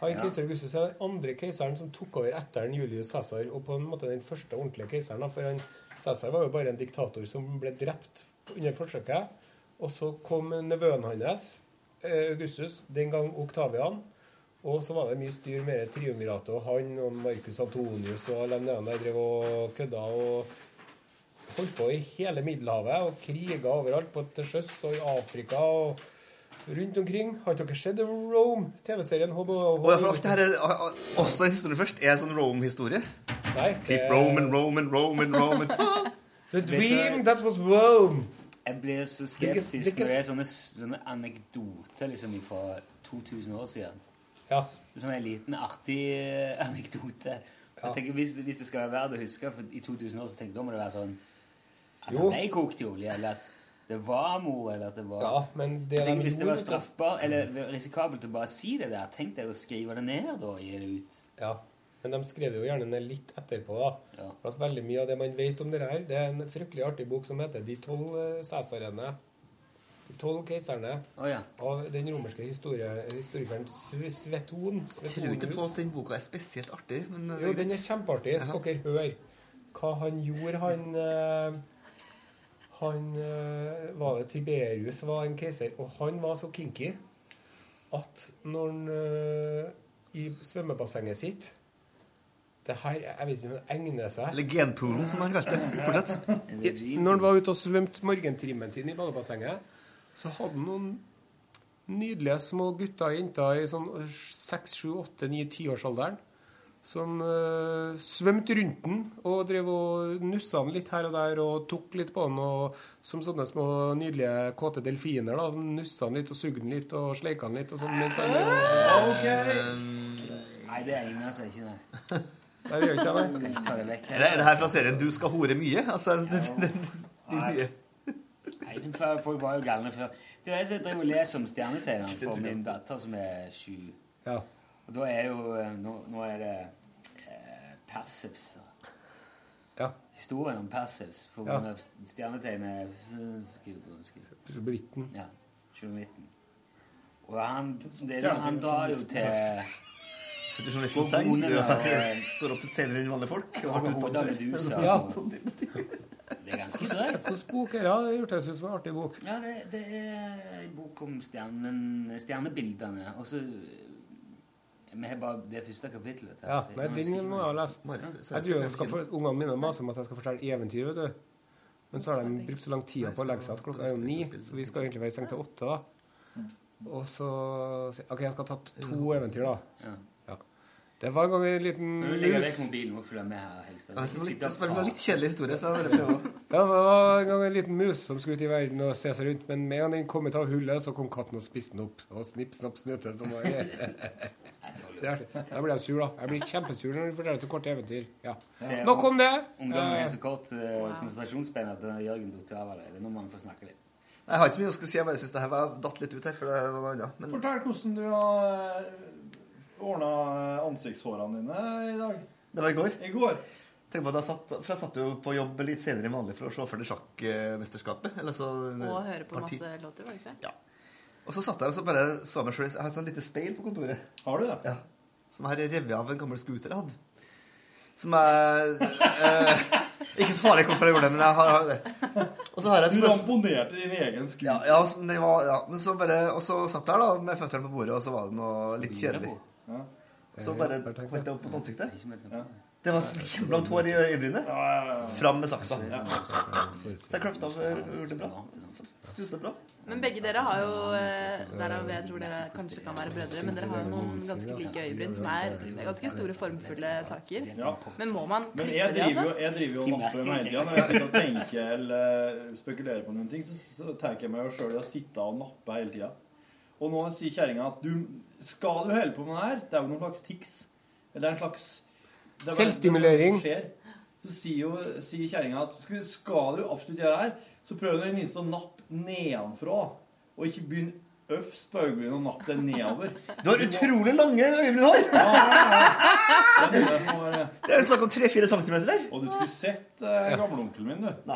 Han
Ja.
keiser Augustus er den andre keiseren som tok over etter den Julius Cæsar, og på en måte den første ordentlige keiseren. da, For han, Cæsar var jo bare en diktator som ble drept under forsøket. Og så kom nevøen hans, ø, Augustus, den gang Oktavian. Og så var det mye styr med det triumviratet og han og Marcus Antonius og alle de der drev og kødda og holdt på i hele Middelhavet og kriga overalt, på til sjøs og i Afrika og rundt omkring. Har ikke dere sett Rome? TV-serien HBO?
Og jeg får akkurat det her, eh, eh, også den historien først. Er det sånn Rome-historie?
Nei. eh,
Keep Roman, Roman, Roman, Roman.
[laughs] The
dream
that was Rome.
Jeg blir så
Det er
skeptisk
ikke-
når det er sånne, sånne anekdoter liksom fra 2000 år siden.
Ja.
Sånn en liten artig eh, anekdote. Jeg tenker, hvis, hvis det skal være verdt å huske for i 2000 år, så tenker jeg da må det være sånn at han
Jo.
ble kokt i olje, eller at det var mor, eller at det var
Ja, men det
Jeg tenker,
de
Hvis det
gjorde,
var
vet du-
straffbar, eller risikabelt å bare si det der, tenk deg å skrive det ned da og gi det ut.
Ja, men de skrev det jo gjerne ned litt etterpå, da. For at veldig mye av det man vet om det her, det er en fryktelig artig bok som heter De tolv eh, cæsarene. De tolv keiserne.
Å, ja.
Av den romerske historie, historikeren Sve- Sveton.
Jeg tror ikke på at
Svetonus.
den boka er spesielt artig, men eh,
Jo, den er kjempeartig.
Ja.
Skal dere høre hva han gjorde, han eh, Han eh, var det Tiberius var en keiser, og han var så kinky at når han eh, i svømmebassenget sitt det her, Jeg vet ikke om det egner seg.
Eller genpoolen, som han kalte det. Fortsett.
I- Når han var ute og svømte morgentrimmen sin i badebassenget, så hadde han noen nydelige små gutter og jenter i sånn 6, 7, 8, 9, 10-årsalderen som eh, svømte rundt den og drev og nussa den litt her og der og tok litt på den og, som sånne små nydelige kåte delfiner da, som nussa den litt og sugde den litt og sleika den litt og sånn. mens han drev og-
Nei, det egner seg ikke, nei.
Nei, det gjør ikke det, nei.
Kan ikke ta det vekk.
Er det- er det her fra serien 'Du skal hore mye'? Altså, det, det, det, de nye.
Nei, men for- folk var jo galne før. Du, jeg driver og leser om stjernetegneren for min datter som er sju.
Ja.
Og da er jo eh, Nå, nå er det eh, Perseus. da. Historien om Perseus. For
Ja.
ja. stjernetegnet er
Britten.
Ja. Journalisten. Og han, det, er sånn jo- han
Stjernetegnet
drar jo
journalisten.
til
Til journalistens tegn. Du har- står opp senere enn vanlige folk. og har vært
Hodet
utenfor.
av medusa.
Ja.
Det er ganske drøyt.
Så spok, ja, det hørtes ut som en artig bok.
Ja, det, det er en bok om stjernen, stjernebildene. Og så Vi har bare det første kapittelet.
Ja,
så jeg
nei,
kan huske
den
ikke
må
mer.
jeg lese. Jeg tror jeg skal for, Ungene mine maser om at jeg skal fortelle eventyr, vet du. Men så har de brukt så lang tid på å legge seg at klokka er jo ni, så vi skal egentlig være i seng til åtte, da. Og så sier- OK, jeg skal ta to eventyr, da. Ja. Det var en gang en liten
Nå legger jeg vekk
mus.
mobilen og følger med her. Helstad.
Ja, så litt-
Sitter og
det var litt
prater.
kjedelig historie, så jeg bare prøver.
Ja, det var en gang en liten mus som skulle ut i verden og se seg rundt, men med en gang den kom ut av hullet, så kom katten og spiste den opp. Og snipp, snapp, snute, som var [laughs] det. Det er- Da blir jeg sur, da. Jeg blir kjempesur når du forteller så korte eventyr. Ja.
Se,
Nok om det.
Ungdommen
Eh,
er så kort uh, konsentrasjonsspenn at eh, Jørgen datt av allerede. Nå må han få snakke litt.
Jeg har ikke så mye jeg skal si. Jeg bare syns det her var datt litt ut her. For det var noe annet. Men
Fortell hvordan du har ordna ansiktshårene dine i dag.
det var i går.
I går.
Tenk på at jeg satt, for jeg satt jo på jobb litt senere enn vanlig for å se for det sjakkmesterskapet. Eller så eh,
Og høre på
parti.
masse låter, var det ikke
det? Ja. Og så satt jeg og så bare så meg selv. Jeg har et sånn lite speil på kontoret.
Har du det?
Ja. Som jeg har revet av en gammel scooter jeg hadde. Som jeg eh, Ikke så farlig hvorfor jeg gjorde det, men jeg har, har det. Og så har jeg
Du
som-
ramponerte din egen sku.
Ja, ja, så det var, ja. Men så bare, og så satt jeg da med føttene på bordet, og så var det noe litt kjedelig.
Ja.
Så bare holdt jeg opp mot ansiktet.
Ja.
Det var kjempelangt hår i øyebrynet. Fram med saksa. Så jeg kløpte av og gjorde det bra. Stuste bra.
Men begge dere har jo eh, Derav jeg tror dere kanskje kan være brødre, men dere har jo noen ganske like øyebryn, som er ganske store, formfulle saker. Men må man
Men
klippe
jeg
de,
driver jo,
altså?
jeg driver jo og napper meg hele tida. Når jeg sitter og tenker eller eh, spekulerer på noen ting, så, så tar jeg meg jo sjøl i å sitte og nappe hele tida. Og nå sier kjerringa at du skal du holde på med det her? Det er jo noen slags tics. Eller en slags det er bare-
Selvstimulering.
det er noe som skjer. Så sier jo sier kjerringa at "Sku- skal du absolutt gjøre det her, så prøv i det minste å nappe nedenfra. Og ikke begynn øfst på øyebrynet og napp det nedover.
Du har utrolig lange øyebryn her! Det er snakk om 3-4 centimeter der.
Og du skulle sett eh,
Ja.
gamleonkelen min, du.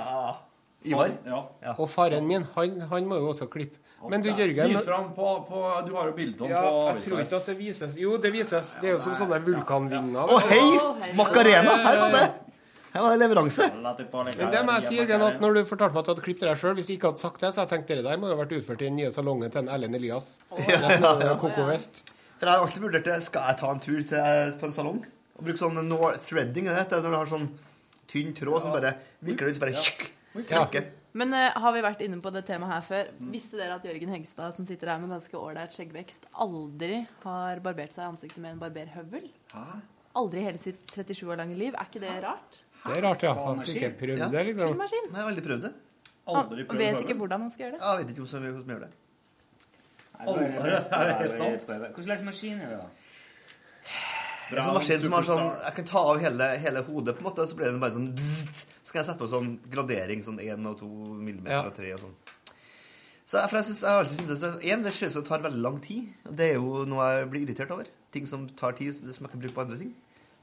Ivar?
Han- Ja.
Og faren min, han, han må jo også klippe. Men du, Jørgen
Vis fram på, på Du har jo bildet av
ja,
på
Jeg tror ikke at det vises Jo, det vises. Det er jo som sånne vulkanvinger.
Å, hei! Macarena! Her var det Her var det leveranse.
Men det må jeg si, Jørgen, at når du fortalte meg at du hadde klippet deg sjøl, hvis du ikke hadde sagt det, så hadde jeg tenkt det der må jo ha vært utført i den nye salongen til en Erlend Elias. Koko West.
For jeg har alltid vurdert det. Skal jeg ta en tur til, eh, på en salong? Og bruke sånn no threading, er det heter, når du har sånn tynn tråd som bare vikler ut, så bare tjekk, trekker.
Men eh, har vi vært inne på det temaet her før?
Mm.
Visste dere at Jørgen Hegstad, som sitter her med ganske ålreit skjeggvekst, aldri har barbert seg i ansiktet med en barberhøvel? Aldri i hele sitt 37 år lange liv. Er ikke det rart?
Det er rart jeg har ikke prøvd det, liksom.
Filmmaskin.
Jeg har aldri prøvd det.
Aldri prøvd vet ikke høvel. hvordan man skal gjøre det.
Ja, jeg vet ikke hvordan hvordan man gjør det.
[laughs]
Aldri.
Aldri.
Det er helt sant. Hva slags maskin er det, da?
Det er sånn maskin som har sånn Jeg kan ta av hele, hele hodet, på en måte, så blir det bare sånn bzzzt. Så kan jeg sette på sånn gradering, sånn 1 og 2 millimeter
Ja.
og 3 og sånn. Så jeg, for jeg, synes, jeg har alltid syntes at en, det ser ut som det tar veldig lang tid. Og det er jo noe jeg blir irritert over. Ting som tar tid, som jeg kan bruke på andre ting.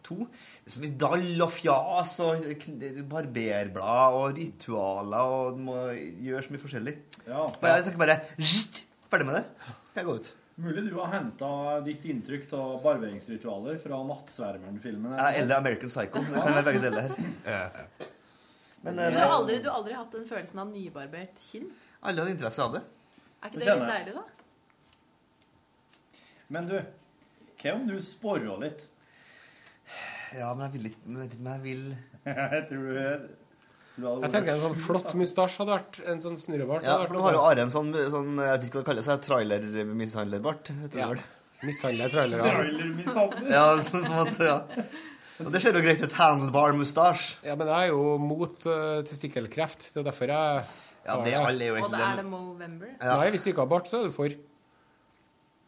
To, det er så mye dall og fjas og kn- barberblad og ritualer og du må gjøre så mye forskjellig.
Ja.
Og jeg tenker bare «Zzt, Ferdig med det. Jeg går ut.
Mulig du har henta ditt inntrykk av barberingsritualer fra Nattsvermeren-filmen.
Ja, eller American Psycho. Det kan være begge deler her. Men, eh,
Men du har aldri, du har aldri hatt den følelsen av nybarbert kinn?
Alle hadde interesse av det.
Er ikke
Det
det litt
kjenner
deilig, da?
Men du, hva om du sporrer litt?
Ja, men jeg vil ikke men jeg vet ikke om jeg vil
Jeg tror du, du hadde
Jeg tenker en sånn flott mustasje hadde vært En sånn snurrebart.
Ja, for nå har jo Are en sånn, sånn jeg vet ikke hva det kalles, jeg, trailermishandlerbart.
Ja.
Mishandler
Trailermishandler.
ja, sånn på en måte, ja. Og det ser jo greit ut. Handlebar mustasje.
Ja, men jeg er jo mot eh, testikkelkreft. Det er derfor jeg
Ja, det alle er jo
Og da er det Movember.
Nei, hvis du ikke har bart, så er du for.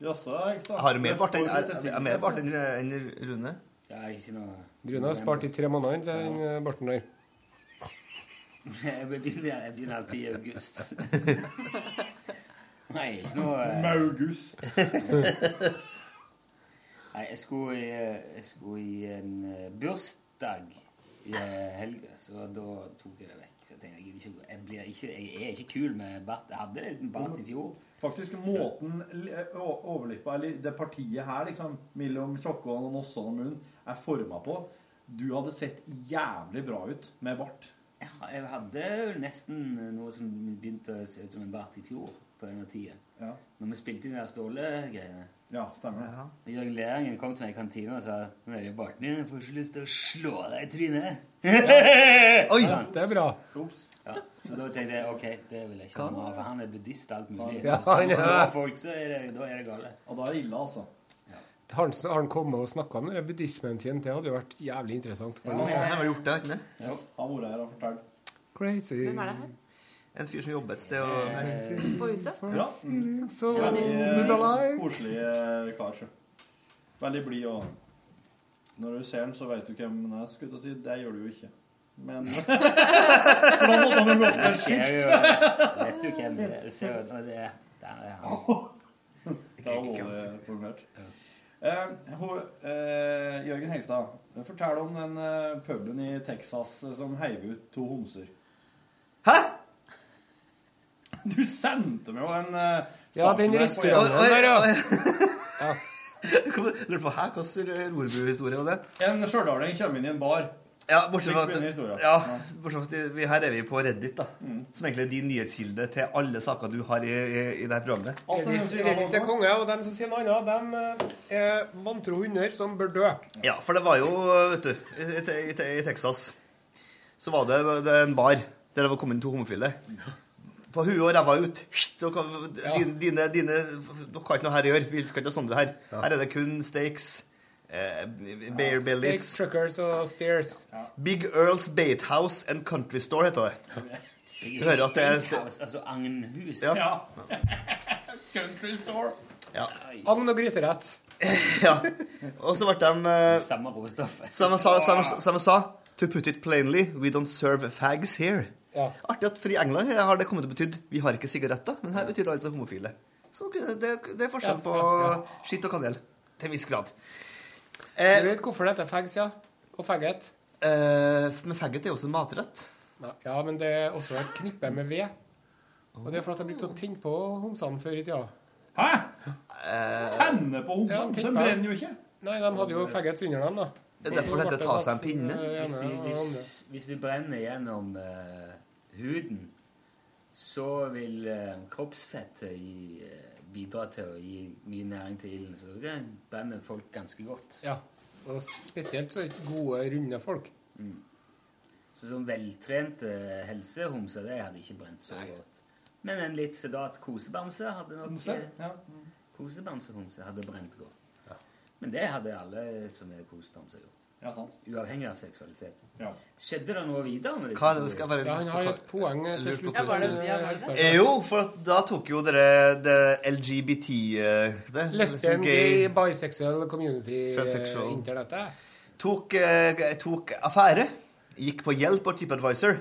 Jaså,
Jeg har mer bart enn jeg har mer bart enn- enn Rune.
Ja, ikke noe
Rune har spart i tre måneder den eh, barten der.
Jeg begynner, jeg begynner alltid i august. Nei, ikke noe eh.
Med august.
[laughs] Nei, jeg skulle, i, eh, jeg skulle i en eh, bursdag i eh, helga, så da tok jeg det vekk. Jeg tenkte, jeg, gidder ikke, gå- jeg, blir ikke, jeg er ikke kul med bart. Jeg hadde en bart i fjor.
Faktisk måten li- eh, å- overlippa, eller det partiet her, liksom, mellom tjokkåen og nossåen og munnen, er forma på. Du hadde sett jævlig bra ut med bart.
Jeg ha- Jeg hadde jo nesten noe som begynte å se ut som en bart i fjor på denne tida.
Ja.
Når vi spilte inn de der Ståle-greiene.
Ja, stemmer det.
Og Jørgen Leangen kom til meg i kantina og sa Nå er det barten din, jeg får så lyst til å slå deg i trynet. [laughs]
Oi!
Ja.
Det er bra.
Ja, så da tenkte jeg ok, det vil jeg ikke ha, noe av, for han er buddhist og alt mulig.
Ja,
så
han er-
slår folk, så er det, da er det gale.
Og da er det ille, altså.
Har han, har han kommet og snakka om den der buddhismen sin? Det hadde jo vært jævlig interessant.
Ja, men jeg- Han har gjort det, ikke det?
Ja, han har vært her og fortalt.
Crazy.
Hvem er det her?
En fyr som jobber et sted og
På huset?
Ja.
So good
Veldig
alive.
koselig eh, kar. sjø. Veldig blid og Når du ser den, så vet du hvem den er, skulle jeg til å si. Det gjør du jo ikke. Men For da måtte han jo gå opp med
Jeg ser jo, jeg vet jo hvem det er. Jeg ser jo, og det er- der er han.
Det er alvorlig formulert. Eh, ho- eh, Jørgen Hegstad, fortell om den eh, puben i Texas eh, som heiv ut to homser.
[laughs]
Hæ?! Du sendte meg jo en eh,
Ja,
sak
den
der på-
restauranten der, ja.
Lurte på hæ, hvilken rorbuhistorie var det?
En stjørdalning kommer inn i en bar.
Ja, bortsett
Slik
fra
begynner
at,
historien.
ja, Mm. bortsett fra at vi, her er vi på Reddit, da. Som egentlig er din nyhetskilde til alle saker du har i, i, i det her programmet.
Reddit Reddit er konge, og dem som sier noe annet, dem eh, er vantro hunder som bør dø.
Ja, for det var jo, vet du, i, i, i, i Texas så var det, det er en bar der det var kommet to homofile. På På huet og ræva ut. Hysj, Dere, dine, dine, dine, dere har ikke noe her å gjøre. Vi skal ikke ha Sondre her. Her er det kun steaks. Eh, Bear Bellies.
Steaks, truckers og steers.
Big Earls Baithouse and Country Store heter det. Du hører at det er
Steakhouse, Altså agnhus.
Ja.
Country store.
ja.
Agn og gryterett.
[laughs] ja. Og så ble de eh,
Samme råstoff.
Som jeg sa, som, jeg- som jeg sa To put it plainly, we don't serve fags here. Artig at for i England her har det kommet til å betydd vi har ikke sigaretter, men her betyr det altså homofile. Så det, det er forskjell på skitt og kanel. Til en viss grad. Eh,
du vet hvorfor det heter fags, ja? Og faggot?
eh, men faggot er jo også en matrett.
Ja, men det er også et knippe med ved. Og det er fordi jeg brukte å tenne på homsene før i tida. Hæ?
Tenne på homsene?
Ja,
De
tenne på.
brenner jo ikke.
Nei, de hadde jo faggots under dem, da.
Det er derfor det heter ta seg en pinne.
Hvis du, hvis, hvis du brenner gjennom eh, huden, så vil eh, kroppsfettet gi, eh, bidra til å gi mye næring til ilden. Så det kan brenne folk ganske godt.
Ja. Og spesielt så er det ikke gode, runde folk.
Mm. Så som veltrente helsehomser, det hadde ikke brent så godt. Men en litt sedat kosebamse hadde nok
Homse?
eh, Kosebamsehomse hadde brent godt. Men det hadde alle som er kosebamser, gjort.
Ja, sant.
Uavhengig av seksualitet.
Ja.
Skjedde det noe videre med disse
Hva er det, skal jeg bare
historiene?
poeng
til
slutt. Ja, var det- ja, var det det?
Eh, jo, for at da tok jo dere det LGBT eh, det,
Lesbian, gay, bisexual community
Transsexual.
eh, internettet.
tok, eh, tok affære, gikk på hjelp av TripAdvisor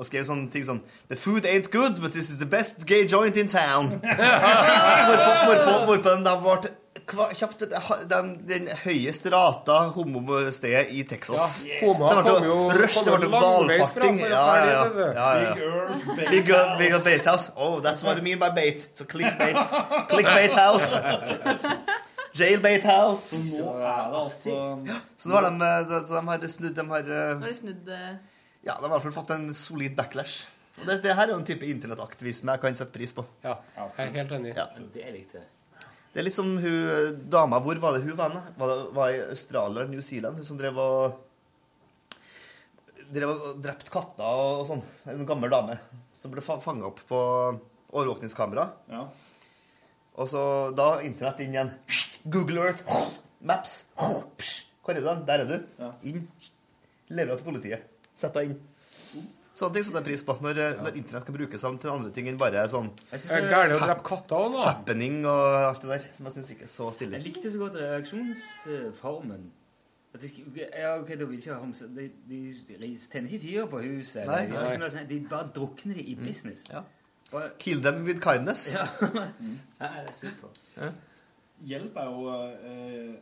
og skrev sånne ting sånn The food ain't good, but this is the best gay joint in town.
[laughs]
hvorpå, hvorpå, hvorpå den da ble kva- kjapt det- den, den høyest rata homostedet i Texas.
Ja, homoer
Så det ble
kom jo-
rush, det
kom
ble
jo langveis fra
valfarting.
for å
Ja,
være
ja,
det,
ja.
det.
ja, ja.
Big Earl's Bait
Big Earl-
House.
Big Earl's Bait House. Oh, that's what I mean by bait. So
[laughs]
clickbait. Clickbait house. Jailbait house.
Nå er det altså
eh, Så nå har de, de, de har snudd de har,
Nå
eh,
har de snudd eh,
Ja, de har i hvert fall fått en solid backlash. Og det, det her er jo en type internettaktivisme jeg kan sette pris på.
Ja, jeg er helt enig.
Det eh, likte jeg.
Det er litt som hun eh, dama Hvor var det hun var? da? Var, det, var i Australia eller New Zealand? Hun som drev og Drev og drept katter og, og sånn. En gammel dame som ble fanga opp på overvåkningskamera.
Ja.
Og så da internett inn igjen. Google Earth. Maps. Psh, Hvor er du? hen? Der er du. Inn. Leverer til politiet. Sett deg inn. Sånne ting setter jeg pris på. Når, eh, når internett kan brukes sånn til andre ting enn bare sånn
Jeg synes
det er gærent å drepe
katter òg, nå. Fappening og alt det der. Som jeg syns ikke er så stille.
Jeg likte så godt reaksjonsformen. At de, sk- ja, ok, da vil ikke ha homse. De, de, de tenner ikke fyr på huset.
Nei,
eller de, gjør
nei. Mm.
ikke noe sånt. de bare drukner det i business. Bare,
Kill them with kindness.
Ja. [laughs] ja, det er super.
Hjelp er jo eh,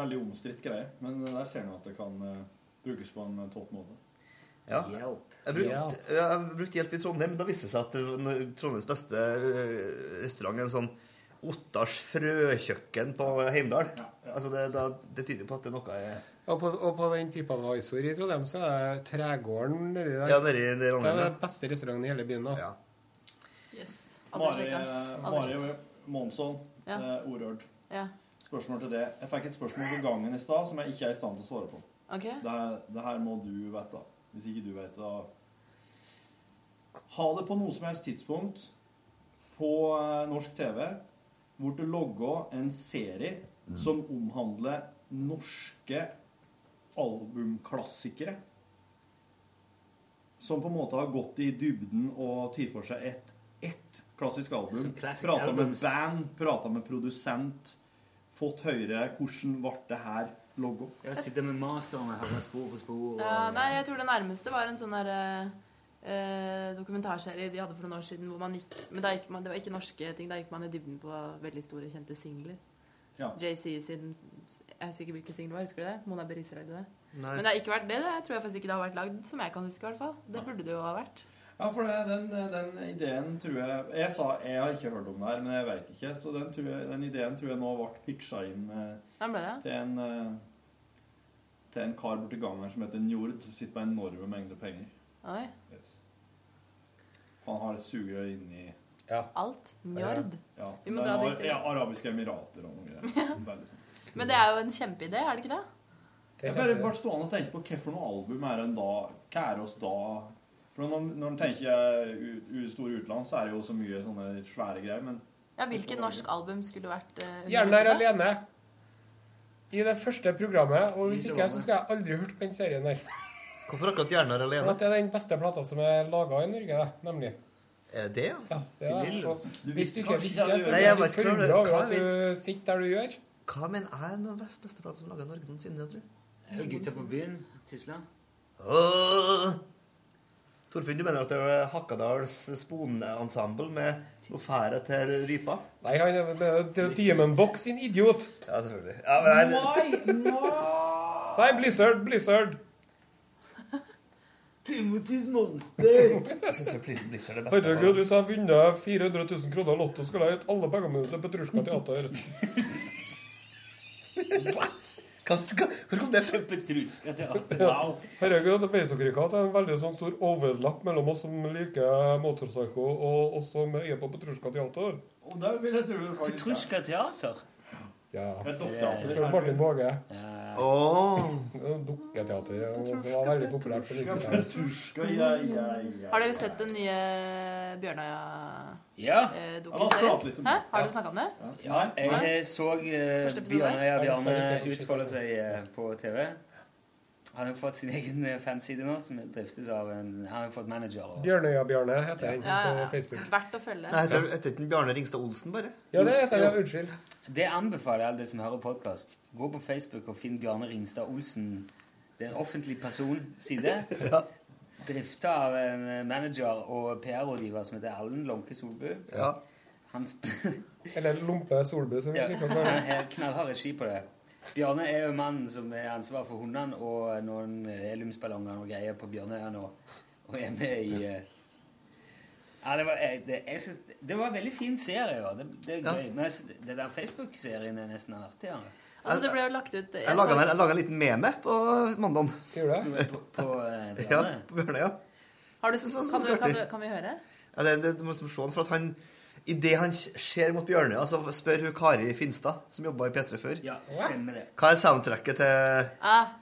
veldig omstridt greie, men der ser man at det kan eh, brukes på en topp måte.
Ja.
Hjelp.
Jeg brukte, jeg brukte hjelp i Trondheim. Da viste det seg at det var noe- Trondheims beste øh, restaurant er en sånn Ottars frøkjøkken på Heimdal. Altså det, da, det tyder på at det er noe jeg
Og på, og på den TripAdvisor i Trondheim så er det Tregården nedi der.
Ja, nedi i det
det
Trondheim,
er
ja.
den beste restauranten i hele byen. da.
Yes. Aldri
eh,
Mari,
sjekket. Aldri
Mari Monsson,
Ja.
eh, ordørd.
Ja.
Spørsmål til det. Jeg fikk et spørsmål på gangen i stad som jeg ikke er i stand til å svare på.
Ok.
Det, det her må du vite. Hvis ikke du vet det, da Ha det på noe som helst tidspunkt på eh, norsk TV hvor det logga en serie
Mm.
som omhandler norske albumklassikere. Som på en måte har gått i dybden og tatt for seg ett ett klassisk album.
Som classic
Prata med
albums.
band, prata med produsent. Fått høre hvordan ble det her logo.
Jeg sitter med masteren og hører spor på spor. Og,
Ja, nei, jeg tror det nærmeste var en sånn der eh, eh, dokumentarserie de hadde for noen år siden. Hvor man gikk, men da gikk man, det var ikke norske ting. Da gikk man i dybden på veldig store, kjente singler.
Ja.
JC sin Jeg husker ikke hvilken singel det var. Husker du det? Mona Berisrael. Det.
Nei.
Men det har ikke vært det. Det tror jeg faktisk ikke det har vært lagd, som jeg kan huske. i hvert fall. Det burde det jo ha vært.
Ja, for det, den, eh, den ideen tror jeg Jeg sa jeg har ikke hørt om det her, men jeg veit ikke. Så den, tror jeg, den ideen tror jeg nå ble pitcha inn eh,
Den ble det.
til en eh, til en kar borti gangen her som heter Njord, som sitter på enorme mengder penger.
Oi.
Yes. Han har et sugerør inni
Alt. Njord.
Ja.
Vi må
Den
dra
har-
dit til.
ja, Arabiske Emirater og noe greier. Veldig sånn.
Men det er jo en kjempeidé, er det ikke det?
Jeg bare ble stående og tenke på hva for noe album er en da Hva er oss da
For når, når en tenker u, u, store utland, så er det jo så mye sånne svære greier, men
Ja, Hvilket norsk album skulle vært eh, under
Hjernen er
bildet?
alene. I det første programmet. Og hvis
I så
ikke, så
måte.
skal jeg aldri hørt på den serien der.
Hvorfor akkurat Hjernen er
For
alene?
at det er den beste plata som er laga i Norge, det, nemlig.
Er det det, ja?
Ja, det er det. Og hvis du ikke
Kanskje
visste det, så
Nei,
blir
jeg
du
vet
litt
ikke hva det-
forundra over
hva
at du sitter der du gjør.
Hva mener jeg er den beste beste platen som er laget i Norge noensinne, jeg tror
Eh, Gutta på byen, Tysland.
Åh! Torfinn, du mener at det er Hakadals sponeensemble med noe fære til rypa?
Nei, han er med det er Demon Box, sin idiot.
Ja, selvfølgelig. Ja, men jeg,
Nei, Blizzard, Blizzard.
Timothys monster.
jeg syns jo Blizzard Blizzard er det beste.
Herregud, hvis jeg vinner 400 000 kroner Lotto, skal jeg gitt alle pengene mine til Petrushka Teater.
Hvor kom det fra?
Petruska teater.
Ja. Herregud, vet dere ikke at det er en veldig sånn stor overlapp mellom oss som liker Motorpsycho og oss som er på Petrushka Teater?
Og da vil jeg tro det faktisk er.
Petruska teater?
Ja.
Et doktorteater.
Spør Martin Våge.
Oh.
Dukketeater. ja, som var veldig populært på 90-tallet.
Petruska, ja, ja, ja.
Har dere sett den nye eh,
Ja.
Ja, la oss prate litt om
Bjørnøya-dokumentarien? Hæ?
det.
Har dere snakka om det?
Ja,
Nei?
jeg så eh,
Første episode?
Bjørnøya Bjarne utfolde seg eh, på TV. Han har jo fått sin egen eh, fanside nå, som driftes av en Han har jo fått manager. Og,
Bjørnøya-Bjørne heter den
Ja, ja,
på
ja.
Facebook.
Verdt å følge.
Nei, heter heter ikke den Bjarne Ringstad Olsen, bare?
Ja, det heter jeg. Unnskyld.
Det anbefaler jeg alle som hører podkast. Gå på Facebook og finn Bjarne Ringstad Olsen. Det er en offentlig personside. Drifta av en eh, manager og PR-rådgiver som heter Allen Lånke Solbu.
Ja.
Han st-
Eller Lompe Solbu, som
[laughs]
vi
Ja,
liker å
han
kalle det.
har knallhard regi på det. Bjarne er jo mannen som er ansvar for hundene og noen heliumsballonger og greier på Bjørnøya nå. Og er med i eh, ja, det var, eh, det, jeg synes, det var en veldig fin serie. Ja. Det, det er gøy. Men jeg synes, det der Facebook-serien er nesten artigere.
Altså, det ble jo lagt ut
Jeg laga en, jeg laget en liten meme på mandag.
Gjorde
På, på, eh,
[laughs] Ja,
Bjarne.
på Bjørnøya.
Har du,
Så- så- så
kan, du, kan, du,
artig.
kan vi høre?
Ja, det, det, du må liksom se han, for at han Idet han ser mot Bjørnøya, så spør hun Kari Finstad, som jobba i P3 før,
Ja, stemmer det.
hva er soundtracket til
Ah,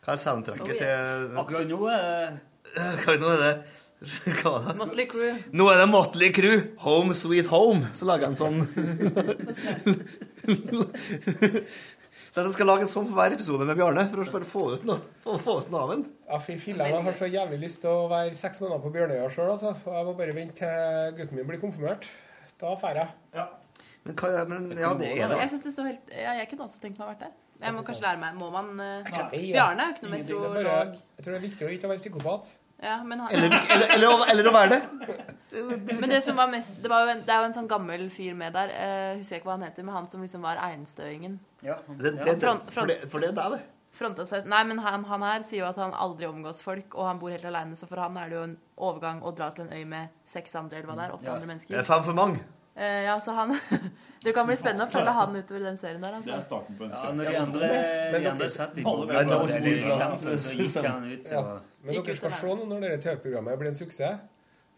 Hva er soundtracket
Oh, yes.
til
Akkurat nå eh,
Hva nå er det? [laughs] Hva var det?
Motley Crew.
Nå er det Motley Crew, Home Sweet Home. Så lager han sånn Så jeg skal lage en sånn for hver episode med Bjarne, for å bare få ut noe, få, få ut noe av den.
Ja, fy filler'n, jeg har så jævlig lyst til å være seks måneder på Bjørnøya sjøl, altså. Og jeg må bare vente til gutten min blir konfirmert. Da drar jeg.
Men, hva, men ja, det er
Altså,
det.
jeg, synes det står helt, ja, jeg kunne også tenkt meg å vært der. Jeg må kanskje lære meg Må man eh,
Nei.
Bjarne er jo ikke noe
Ingenting. Det er
meteorolog.
bare- Jeg tror det er viktig å ikke være psykopat.
Ja, men han,
Eller, eller, eller, å, eller å være det.
[laughs] Men det som var mest Det, var jo en, det er jo en sånn gammel fyr med der. eh, husker jeg ikke hva han heter, men han som liksom var einstøingen.
ja.
det, det, det for, det for det er deg, det.
Fronta seg Nei, men han, han her sier jo at han aldri omgås folk, og han bor helt aleine, så for han er det jo en overgang å dra til en øy med seks andre, eller hva det er, åtte
Ja.
andre
Det er
mennesker.
fem for mange.
Eh, ja, så han [laughs] Det kan bli spennende å følge han utover den serien der,
Det er
altså.
starten på en
Ja,
skrekk.
når de andre,
Men
de
dere-
andre satt i
Alle
bobla,
vet hva
og
det
det
er.
var stampen, så gikk han ut
Ja.
og
Men
Gikk
dere
ut av
skal se nå når dette TV-programmet blir en suksess.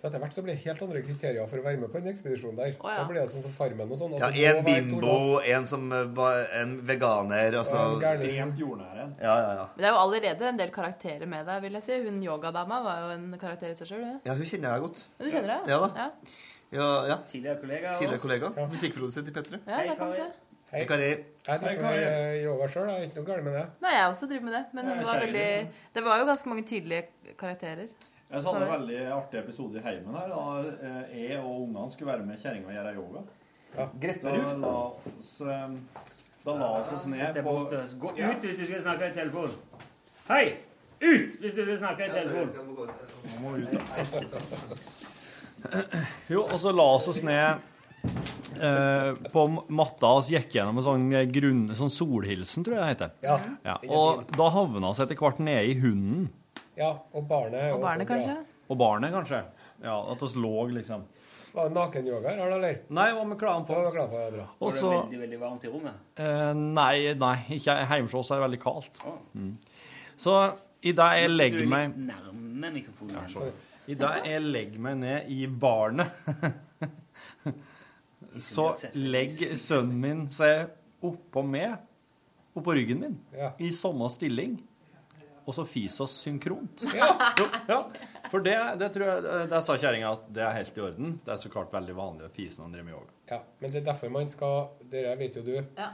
Så etter hvert så blir det helt andre kriterier for å være med på en ekspedisjon der.
ja.
Da blir det sånn som Farmen og sånn. at
Ja,
det
en
må være to lat-
bimbo, en som eh, var en veganer, altså
og en gærning.
Ekstremt jordnære.
Ja, ja, ja.
Men det er jo allerede en del karakterer med deg, vil jeg si. Hun yogadama var jo en karakter i seg sjøl, hun.
Ja, hun kjenner jeg godt.
Men du kjenner det?
Ja da.
Ja,
Ja, ja.
Tidligere kollega av
Tidligere
oss.
kollega. Musikkprodusent i P3.
ja det kan vi se.
Hei.
Kari.
Jeg driver
Hei,
med yoga sjøl, jeg er ikke noe gærent med det.
Nei, jeg også driver med det. Men
Ja,
hun
jeg
var
kjenner
veldig
det.
Det var jo ganske mange tydelige karakterer.
Jeg hadde en
Sorry.
veldig artig episode i heimen her da eh, jeg og ungene skulle være med kjerringa og gjøre yoga. Da
Grepperud.
la oss, eh, da la oss oss
Sett
ned
deg
på
bort og gå ut hvis du skal snakke i telefon. Hei! Ut hvis du skal snakke i telefon.
Jo, og så la oss oss ned eh, på matta og gikk gjennom en sånn, grunn, sånn solhilsen, tror jeg det heter.
Ja.
Ja, og da havna vi etter hvert nede i hunden.
ja og barnet er jo
Og barnet,
også
kanskje.
Og barnet, kanskje. Ja, at oss lå, liksom.
bra. Var det nakenyoga her, har du, eller?
Nei, hva med klærne
Ja,
på?
jeg er glad for det, det er bra.
Og
Var det
så
veldig, veldig varmt i rommet?
eh, Nei, nei, ikke hjemme hos oss er det veldig kaldt.
Å.
Mm. Så i det jeg
Nå sitter du
legger meg
litt nærme mikrofonen.
I det jeg legger meg ned i barnet, [laughs] så legger sønnen min seg oppå meg, oppå ryggen min,
Ja.
i samme stilling. Og så fiser oss synkront.
Ja.
Jo, ja. For det, det tror jeg eh, Der sa kjerringa at det er helt i orden. Det er så klart veldig vanlig at fisen han driver med yoga.
Ja, men det er derfor man skal Dere vet jo du,
Ja.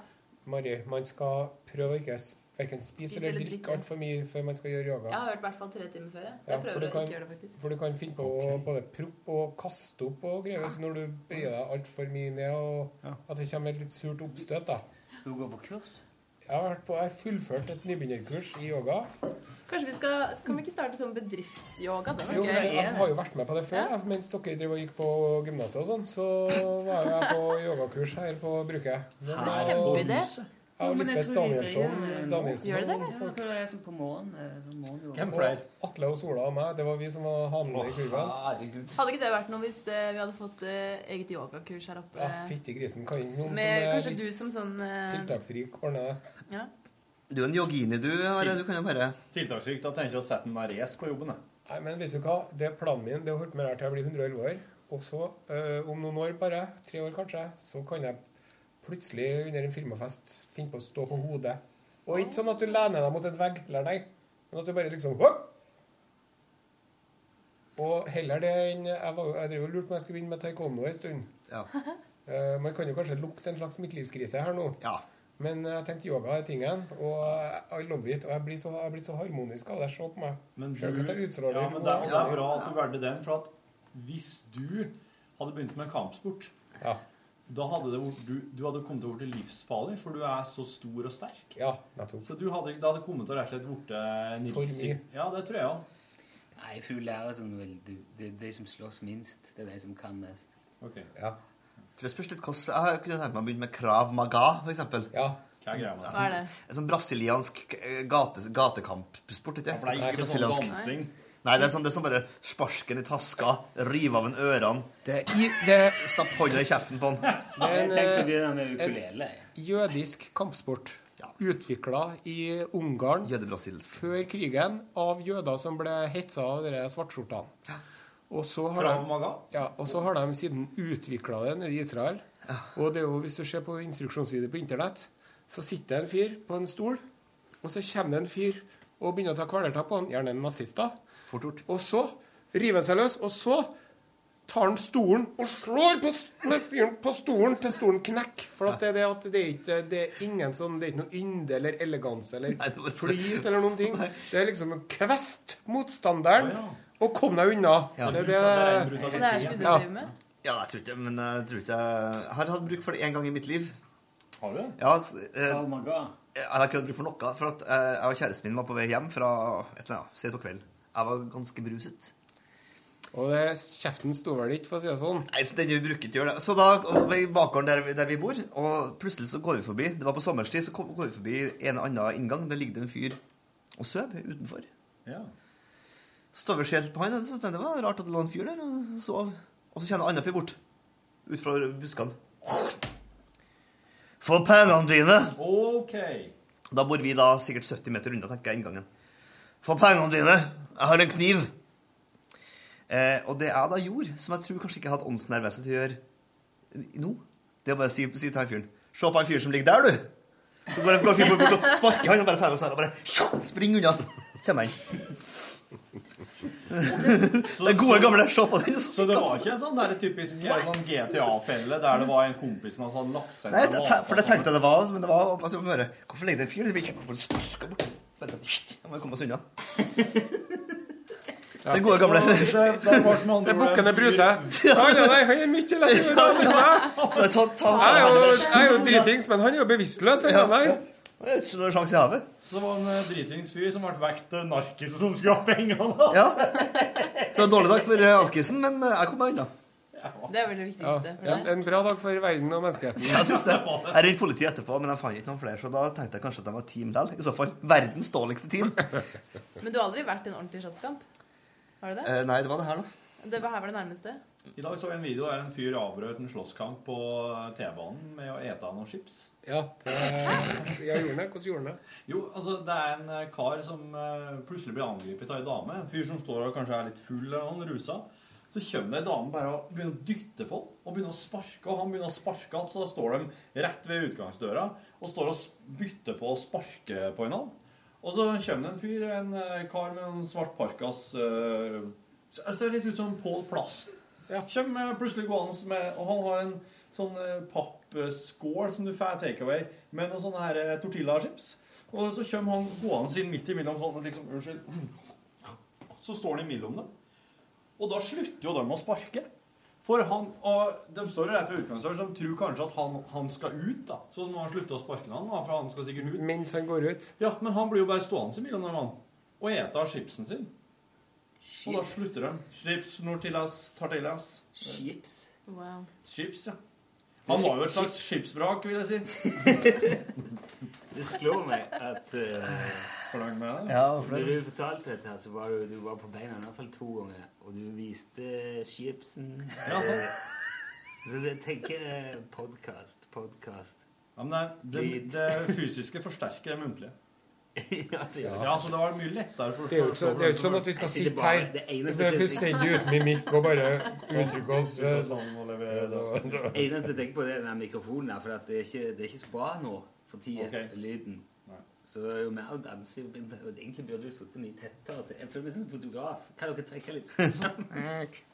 Mari, man skal prøve å ikke s- hverken spise,
Spise
eller
eller
drikke
drikke.
altfor mye før man skal gjøre yoga.
Jeg har hørt i hvert fall tre timer før. Jeg,
Ja,
jeg
for
prøver
du
å
kan-
ikke gjøre det, faktisk.
For du kan finne på å både proppe og kaste opp og greier vet du, når du bøyer deg altfor mye ned, og at det kommer et litt surt oppstøt. da.
Du går på kurs?
Jeg har vært på, jeg har fullført et nybegynnerkurs i yoga.
Kanskje vi skal, Kan vi ikke starte som bedriftsyoga? Det var
Jo,
gøy.
men jeg har jo vært med på det før. jeg. Mens dere drev og gikk på gymnaset og sånn, så var jo jeg på yogakurs her på Bruket.
Det
var-
er kjempeidé.
Jeg og Lisbeth Danielsson.
eh,
Danielsen
Gjør det det?
og
eller? Jeg tror det er sånn på morgenen.
Og Atle og Sola og meg. Det var vi som var hanene i kurven.
Hadde ikke det vært noe hvis eh, vi hadde fått eh, eget yogakurs her oppe?
Ja, fytti grisen. Kan ikke noen
Med,
som
kanskje
er
du
litt
som sånn eh,
tiltaksrik, ordne det.
ja.
Du er en yogini, du. Are. Du kan jo bare
Tiltakssyk. Da tenker jeg å sette en race på jobben. Jeg.
Nei, men vet du hva? Det er planen min. Det har holdt meg her til jeg blir 111 år. Og så, eh, om noen år bare, tre år kanskje, så kan jeg plutselig under en firmafest finne på å stå på hodet. Og ikke sånn at du lener deg mot en vegg, eller nei, men at du bare liksom Hopp! Og heller det enn Jeg, var, jo- jeg drev og lurte på om jeg skulle begynne med taekwondo en stund. Eh, man kan jo kanskje lukte en slags midtlivskrise her nå. Men jeg tenkte yoga er tingen, og I love it. Og jeg blir så, jeg er blitt så harmonisk av det. Se på meg.
Men du,
Selv om jeg
ja,
utstråler
men det, er- det er bra at du valgte den, for at hvis du hadde begynt med kampsport, da hadde det, vært- du, du hadde kommet til å bli livsfarlig, for du er så stor og sterk.
Ja, nettopp.
Så du hadde, det hadde kommet til å rett og slett blitt Nils.
mye.
Ja, det tror jeg òg.
Nei, for du lærer sånn vel, du, Det er de som slåss minst, det er de som kan mest.
Ok.
Tror jeg spørs litt hvordan Jeg har- kunne tenkt meg å begynne med Krav Maga, for eksempel.
Ja.
Hva er greia med det?
sånn-
Hva er det?
En sånn brasiliansk eh, gate, gatekampsport, ikke
Ja, for det er ikke sånn
brasiliansk.
dansing.
Nei, det er sånn, det er sånn bare sparken i taska, rive av en ørene, stapp hånda i kjeften på han.
[laughs]
Men,
Jeg tenkte å
eh,
begynne med
en
ukulele.
Jødisk kampsport. Utvikla i Ungarn før krigen av jøder som ble hetsa av dere svartskjortene. Og så har
Krav
de, ja, og så har de siden utvikla det nede i Israel. Og det er jo, hvis du ser på instruksjonsvideoer på internett, så sitter det en fyr på en stol, og så kommer det en fyr og begynner å ta kvelertak på han, gjerne en nazist, da. Og så river han seg løs, og så tar han stolen og slår på, s- med fyren på stolen til stolen knekker. For at det, er det, at det, er ikke, det er ingen sånn Det er ikke noe ynde eller eleganse eller flyt eller noen ting. Det er liksom kvest motstanderen og kom deg unna. Det er det Ja.
Ja, jeg tror ikke Men eh, jeg tror ikke Jeg har hatt bruk for det én gang i mitt liv.
Har du det?
Ja, s- eh,
Oh my God.
jeg har ikke hatt bruk for noe. For at eh, jeg og kjæresten min var på vei hjem fra et eller annet sent på kvelden. Jeg var ganske bruset.
Og det, kjeften sto vel ikke, for å si det sånn?
Nei, så den vi bruker ikke gjør det. Så da, og i bakgården der, vi- der vi bor, og plutselig så går vi forbi, det var på sommerstid, så kom- går vi forbi en eller annen inngang, der ligger det en fyr og sover utenfor.
Ja.
Så står vi og ser på han, og så tenkte jeg, det var rart at det lå en fyr der og sov. Og så kjenner en annen fyr bort, ut fra buskene. Få pengene dine!
OK.
Da bor vi da sikkert 70 meter unna, tenker jeg, inngangen. Få pengene dine! Jeg har en kniv! Eh, og det jeg da gjorde, som jeg tror kanskje ikke jeg hadde åndsnervese til å gjøre nå, det er bare å si, si til han fyren Se på han fyren som ligger der, du! Så går, går fyren bort og sparker han og bare tar med seg og bare Spring unna! Kommer han. Det er gode gamle Se på den!
Så det var ikke en sånn der typisk eh, sånn GTA-felle der det var en kompis som hadde lagt seg
Nei, det, te- for det tenkte jeg det var, men det var altså, man hører, Hvorfor ligger det en fyr der? Vi kommer og sparker bort. Vent, da. Jeg må komme oss unna. Så det gode gamle
Det er bukkene bruser. Ja, ja, nei, han er mye lettere enn han andre.
Så jeg tar- tar-
Jeg er jo- jeg er jo dritings, men han er jo bevisstløs. Han
Ja.
der.
Det er ikke noe sjanse i havet.
Så det var en eh, dritings fyr som ble vekt
eh,
til narkis som skulle ha pengene.
Ja. Så det var en dårlig dag for eh, alkisen, men eh, jeg kom meg unna.
Det er vel det
Ja,
viktigste. for
en,
deg.
en bra dag for verden og menneskeheten.
Så jeg synes
[laughs]
det. Jeg ringte politiet etterpå, men jeg fant ikke noen flere, så da tenkte jeg kanskje at de var team likevel. I så fall verdens dårligste team.
Men du har aldri vært i en ordentlig slåsskamp? Har du det?
[laughs] Eh, Nei, det var det her, da.
Det var her var det nærmeste.
I dag så jeg en video der en fyr avbrøt en slåsskamp på T-banen med å ete noen chips.
Ja, det, jeg gjorde det. Hvordan gjorde han det?
Jo, altså det er en eh, kar som eh, plutselig blir angrepet av ei dame. En fyr som står og kanskje er litt full eller noen rusa. Så kommer det ei dame bare og begynner å dytte på han, og begynner å sparke. Og han begynner å sparke igjen, så da står de rett ved utgangsdøra og står og s- bytter på å sparke på hverandre. Og så kommer det en fyr, en eh, kar med en svart parkas eh,
Så Jeg ser litt ut som Pål Plassen. Kommer plutselig gående med Og han har en sånn eh, pappskål som du får takeaway med noen sånne her eh, tortillachips. Og så kommer han gående inn midt imellom sånn og liksom Unnskyld. Så står han imellom dem. Og da slutter jo de å sparke. For han, og De står jo rett ved utgangen, så de tror kanskje at han, han skal ut. da. Så nå har han slutta å sparke han, da, for han skal sikkert ut.
Mens han går ut?
Ja, men han blir jo bare stående imellom dem han, og ete av chipsen sin. Og da slutter de. Chips, Nortillas, Tartillas.
Chips?
Wow.
Chips, ja. Han var jo et slags skipsvrak, vil jeg si.
[laughs] Det slår meg at eh,
Ja, for
Når
det-
du fortalte dette, her, så var du, du var på beina i hvert fall to ganger. Og du viste chipsen.
Ja, sånn.
Eh, Så jeg tenker eh, podkast, podkast.
Ja, men det, det, det fysiske forsterker det muntlige.
[laughs] ja, det
ja. så det var mye lettere for
Det er jo ikke, så- det er jo ikke sånn at vi skal sitte her Vi er fullstendig uten mimikk og bare uttrykke oss eh,
Det eneste jeg tenker på, det er den mikrofonen her, for at det, er ikke, det er ikke så bra nå for tida, lyden. Så det er jo mer å danse og Egentlig burde du sittet mye tettere til. Jeg føler meg som en fotograf. Kan dere trekke litt [laughs] sånn?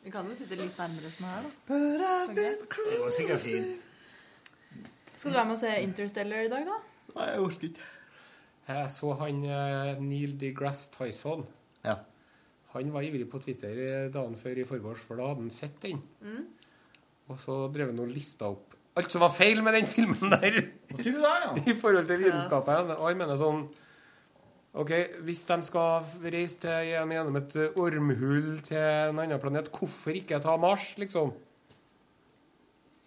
Vi kan jo sitte litt nærmere sånn her, da.
Det går sikkert fint.
Skal du være med og se Interstellar i dag, da?
Nei, jeg orker ikke.
Jeg så han eh, Neil deGrasse Tyson.
Ja.
Han var ivrig på Twitter eh, dagen før i forgårs, for da hadde han sett den.
Mm.
Og så drev han og lista opp alt som var feil med den [laughs] filmen der!
Hva sier du der,
I forhold til vitenskapen. Og jeg mener sånn OK, hvis de skal reise til, gjennom gjennom et eh, ormhull til en annen planet, hvorfor ikke ta Mars, liksom?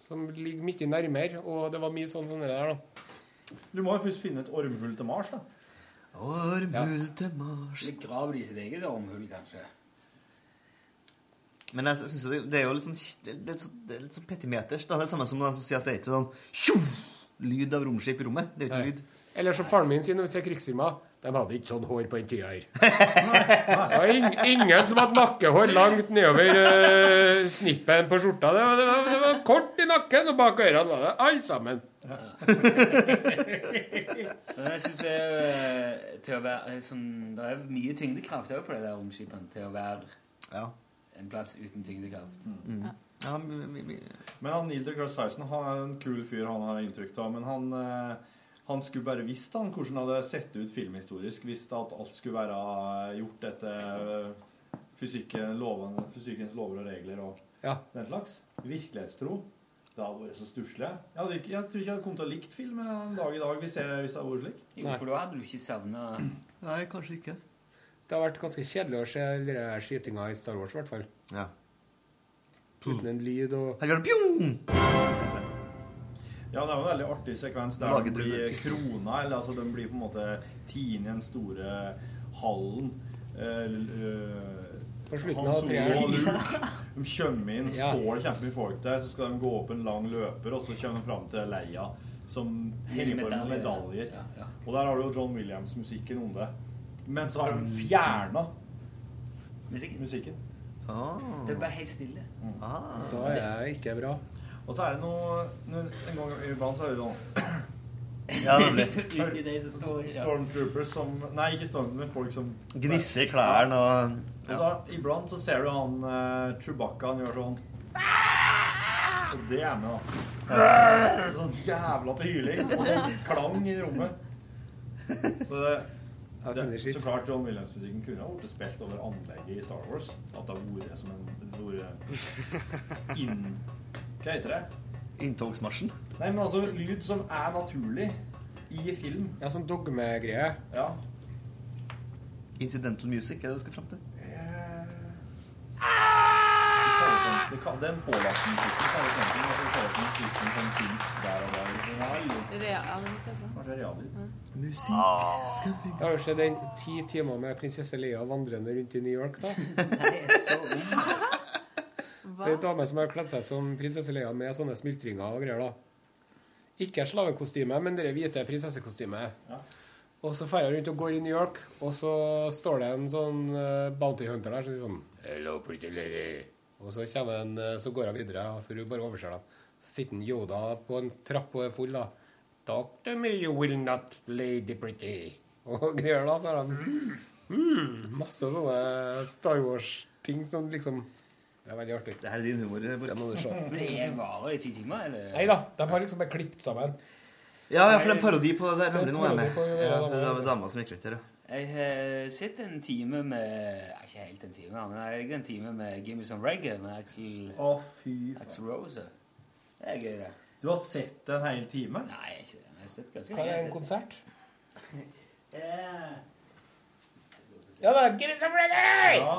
Som ligger mye nærmere. Og det var mye sånn sånn der, da.
Du må jo først finne et ormhull til Mars, da.
Ormhull til Mars
Eller graver de sitt eget ormhull, kanskje?
Men jeg synes jo det, det er jo litt sånn det er litt, sånn- det er litt sånn petimeters. Da. Det er det samme som de som sier at det er ikke sånn tjo, lyd av romskip i rommet. Det er jo ikke
Nei.
lyd.
Eller som faren min sier når vi ser krigsfilmer De hadde ikke sånn hår på den tida her. Det var ing- ingen som hadde nakkehår langt nedover eh, snippen på skjorta. Det var, det, var, det var kort i nakken, og bak ørene var det alle sammen.
Men jeg synes det er jo, eh, til å være eh, sånn, Det er mye tyngdekraft også på det der romskipet til å være en plass uten tyngdekraft.
Mm. Ja, men- men- men-
Men han Neil deGrasse Tyson han er en kul fyr, han har jeg inntrykk av. Men han, eh, han skulle bare visst han hvordan det hadde sett ut filmhistorisk hvis at alt skulle være eh, gjort etter eh, fysikken, lovene, fysikkens lover og regler og den slags. Virkelighetstro. Det hadde vært så stusslig. Jeg, hadde ikke- jeg tror ikke jeg hadde kommet til å likt film en dag i dag hvis, jeg, hvis det hadde vært slik.
Jo, for da hadde du ikke savna
Nei, kanskje ikke.
Det har vært ganske kjedelig å se all den der skytinga i Star Wars, i hvert fall.
Ja.
Mm.
Uten en lyd og
Her gjør det pjong!
Ja, det er jo en veldig artig sekvens der
Laget
de blir
drømmepistolen.
krona, eller altså de blir på en måte tine i den store hallen. Eh, l- eh,
På slutten
Han
av
Solo
treeren.
og Luke,
[laughs]
De kommer inn,
Ja.
står det kjempemye folk der, så skal de gå opp en lang løper, og så kommer de fram til Leia, som henger på med
medaljer.
medaljer.
Ja, ja.
Og der har du jo John Williams-musikken om det. Men så har de fjerna
musikken. Det er bare helt stille.
Da er det ikke bra.
Og så er det noe noe- En gang iblant så er det sånn
Ja, nemlig.
Ut i de som står i- ja.
Stormtroopers som Nei, ikke stormtroopers, men folk som
Gnisse i klærne og
Og så, iblant så ser du han eh, Chewbacca, han gjør sånn Og det er med, da. Sånn jævla til hyling. Og sånn klang i rommet. Så det, det Så klart John Williams-musikken kunne ha blitt spilt over anlegget i Star Wars. At det har vært som en det har vært inn... Hva heter det?
Inntogsmarsjen.
Nei, men altså lyd som er naturlig i film.
Ja, sånn dogmegreie.
Ja.
Incidental music er det du skal fram til.
Det kan, den pålagte musikken så er det sånn ting, altså, det er sånn musikken som finnes der og der.
Ja, ja, men ikke bra.
Kanskje realid.
Musikk skal
Jeg har jo sett den ti timer med prinsesse Leia vandrende rundt i New York, da. Det er en dame som har kledd seg som prinsesse Leia med sånne smultringer og greier, da. Ikke slavekostyme, men det hvite prinsessekostymet. Og så drar jeg rundt og går i New York, og så står det en sånn eh, bounty hunter der som sier sånn Hello, pretty lady. Og så, kommer en, eh, så går hun videre, for hun bare overser dem. Så sitter en Yoda på en trapp og er full, da. Talk to me, you will not, lady [laughs] pretty. Og greier, da, så har de mm, masse sånne "Hmm, Star Wars ting som liksom Det er veldig artig.
Det her er din humor. Det
må du se.
Men det er varer i ti timer, eller?
Nei da, de har liksom bare klippet sammen.
Ja, ja, for det er en parodi på det der.
Det er
Nemlig, nå er jeg
parodi
med.
på det der,
Ja,
da,
det var
men-
dama som gikk rundt her, ja.
Jeg har sett en time med ja, Ikke helt en time, men jeg har en time med Gimme Some Reggae med Axel, Axel Rose. Det er gøy, det.
Du har sett en hel time?
Nei, jeg har ikke det. men Jeg har sett ganske
Hva er en
Jeg har sett-
konsert?
Ja.
Ja da, give it some reggae!
Ja.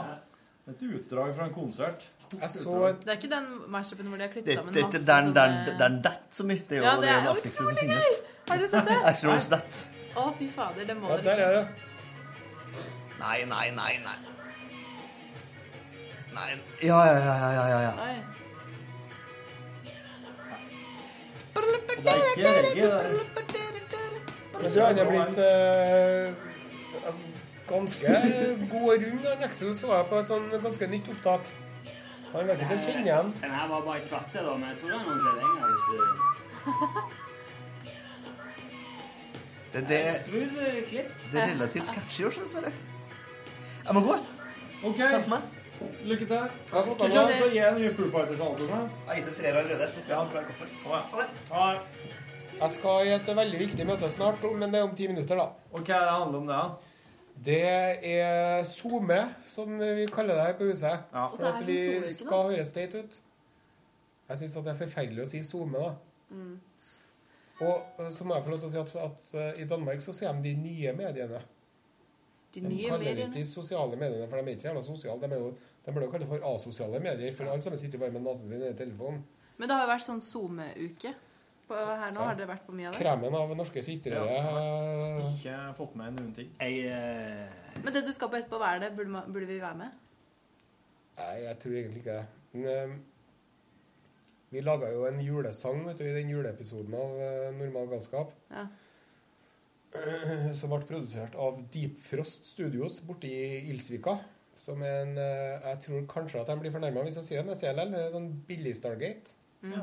Et utdrag fra en konsert.
Jeg så et
Det er ikke den mashupen hvor de har klippet
Det
sammen
det- det- det er en- det er en- det er en dett så mye. Det er jo
Ja, det
det er
er
det
jo
artigste som finnes.
Har dere sett det?
Axel Rose Dett.
Å, fy fader, det må
Ja,
dere
der er
se.
det. Nei, nei, nei, nei. Nei, ja, ja, ja, ja, ja, ja, ja.
Oi.
Det er ikke reggae, det.
Men du, han er blitt eh, ganske god og rund. Han Nexo så jeg på et sånn ganske nytt opptak. Han vet ikke om jeg kjenner igjen.
Den her var bare et kvarter, da, men jeg tror det er noen som er lenger. Hvis du...
Det, det,
er smooth eh, klipp.
det er relativt catchy også, dessverre. Jeg må gå.
OK.
Takk for meg.
Lykke til.
Ja, godt,
Ikke
da.
kjent å gi en ny Foo Fighters-album.
Jeg har gitt en treer allerede. Nå skal jeg forklare hvorfor.
Ha det.
Jeg skal i et veldig viktig møte snart, men det er om ti minutter, da.
Og hva er det handler om det, da?
Det er SoMe, som vi kaller det her på huset. For
Og det er
at
en
vi
SoMe, ikke
skal høres teit ut. Jeg syns det er forferdelig å si SoMe, da.
Mm.
Og eh, så må jeg få lov til å si at, at eh, i Danmark så sier de de nye mediene.
De nye
kaller det
mediene.
ikke de sosiale mediene, for de er ikke så jævla sosiale. De, er jo, de burde jo kalle det for asosiale medier, for alle sammen sitter jo bare med nesen sin i telefonen.
Men det har jo vært sånn SoMe-uke. På- Her nå
Ja.
har dere vært på mye av det.
Kremen av norske fitrere eh,
Ikke fått med noen ting.
Jeg, eh,
Men det du skal på etterpå, hva er det? Burde, man, burde vi være med?
Nei, jeg tror egentlig ikke det. Men eh, vi laga jo en julesang vet du, i den juleepisoden av eh, Normal galskap.
Ja.
[clears throat] Som ble produsert av Deep Frost Studios borte i Ilsvika. Som er en eh, Jeg tror kanskje at de blir fornærma hvis jeg sier det, men jeg sier det likevel. det er Sånn billig Stargate.
Mm.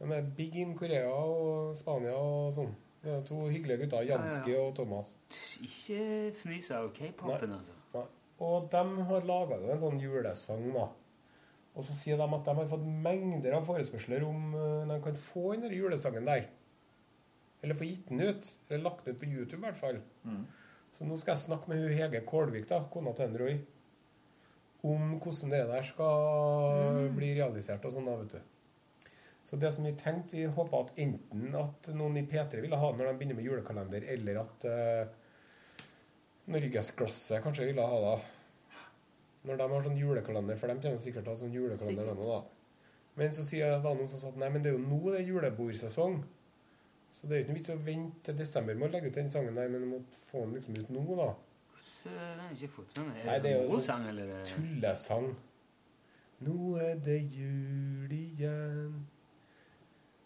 De er big in Korea og Spania og sånn. Det er jo to hyggelige gutter. Jansky
Ja, ja.
og Thomas.
Ikke fnys av k-popen, altså.
Nei. Og de har laga jo en sånn julesang, da. Og så sier de at de har fått mengder av forespørsler om eh, de kan få den der julesangen der. Eller få gitt den ut. Eller lagt den ut på YouTube, i hvert fall. Så nå skal jeg snakke med hun Hege Kålvik, da, kona til Roy, om hvordan det der skal bli realisert og sånn, da, vet du. Så det som vi tenkte, vi håpa at enten at noen i P3 ville ha den når de begynner med julekalender, eller at eh, Norgesklasse kanskje ville ha da. Når de har sånn julekalender, for de kommer sikkert til å ha sånn julekalender
Sikkert.
nå, da. Men så sier det var noen som sa at nei, men det er jo nå det er julebordsesong. Så det er jo ikke noe vits å vente til desember med å legge ut den sangen der, men du må få den liksom ut nå, da.
Så den har jeg ikke fått med meg.
Nei,
Er
det
det
er
sånn
jo
morsang,
sånn
eller?
tullesang. Nå er det jul igjen.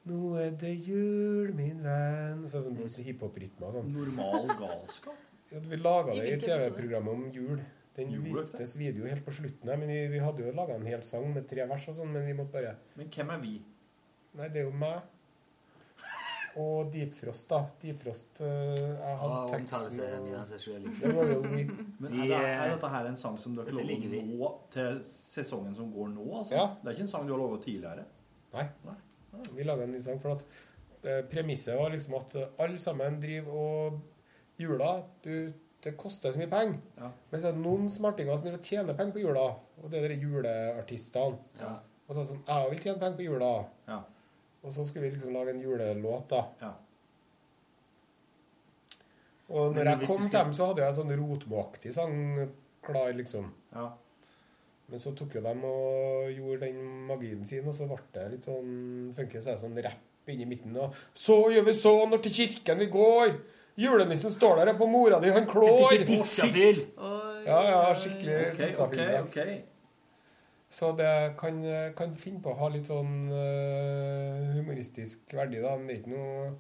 Nå er det jul, min venn. Så er det sånn hiphop-rytme og sånn.
Normal galskap?
Ja, vi laga det
I
i
hvilken episode?
TV-programmet om jul. Den
Gjorde dere det?
vistes video helt på slutten her, men vi, vi hadde jo laga en hel sang med tre vers og sånn, men vi måtte bare
Men hvem er vi?
Nei, det er jo meg. Og Deep Frost, da. Deep Frost eh, Jeg hadde
Å,
Ah,
omtale
teksten
seg
og-
via seg selv. eh,
Det var jo vi.
Men er, det, er dette her en sang som du har
Dette liker
lovet
vi.
nå til sesongen som går nå? Altså?
Ja.
Det er ikke en sang du har lovet tidligere?
Nei. Vi laga en ny sang. For at eh, premisset var liksom at eh, alle sammen driver og Jula du, Det koster så mye penger.
Ja.
Men så er det noen smartinger som driver og tjener penger på jula, og det er de juleartistene.
Ja.
Og så er det sånn Jeg vil tjene penger på jula.
Ja.
Og så skulle vi liksom lage en julelåt, da.
Ja.
Og
Men
når jeg
hvis
kom
du
til
skal-
dem, så hadde jeg en sånn rotmåaktig sang klar, liksom.
Ja.
Men så tok jo dem og gjorde den magien sin, og så ble det litt sånn funky. Så er det sånn rapp inni midten, og Så gjør vi sånn, og til kirken vi går. Julenissen står der og på mora di, han klår.
Pizzafyr!
Ja, ja, skikkelig
Ok, ok,
pizzafilm.
ok.
Så det kan, kan finne på å ha litt sånn eh, humoristisk verdi, da. Men det er ikke noe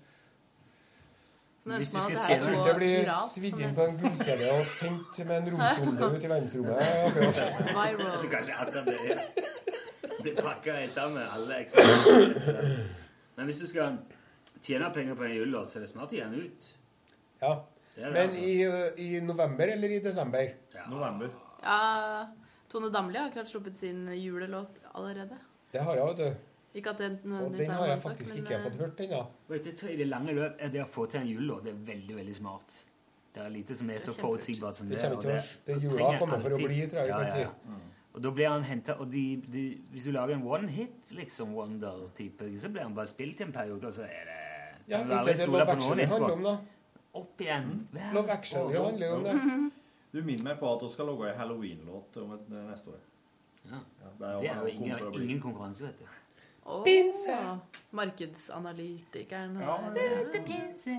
Så nå
Hvis
ønsker man
du
at det
skal
Jeg
her
tror
skal
ikke det
gå
blir
viralt.
svidd
sånn
inn
at-
på en gullcelle og sendt med [laughs] en romsonde ut i
[laughs]
verdensrommet.
Viral.
Kanskje akkurat det. Ja. Det pakker jeg sammen alle eksamener. Men hvis du skal tjene penger på en julelåt, så er det smart å gi den ut.
Ja.
Det er det,
Men
altså.
i, ø, i november eller i desember?
Ja.
November.
Ja, Tone Damli har akkurat sluppet sin julelåt allerede.
Det har jeg, vet du.
Ikke at det
Og
nødvendigvis
den har
er eh,
jeg faktisk ikke fått hørt ennå.
Vet du, jeg tror I det lange løp er det å få til en jul, og det er veldig veldig smart. Det er lite som er
Det
så
er kjempelurt.
forutsigbart som
Det
det.
kommer
og
til å- det jula
trenger
kommer for å
alltid-
bli, tror jeg vi kan si.
Og da blir han hentet, og de, de, Hvis du lager en one hit liksom wonder-type, så blir han bare spilt i en periode, og så er det
Ja,
kan
det
du
er
aldri
det det
stole
Love
på noen
Actually handler
etterpå.
om, da.
Opp igjen.
Love Actually
Mm.
handler jo om det.
Du minner meg på at vi skal lage en halloween-låt om et, neste år.
Ja.
det er jo,
Det er jo
kommer
ingen,
til å bli.
ingen konkurranse, vet du.
Åh, Markedsanalytikeren
Ja,
har
ja. Ute pinse.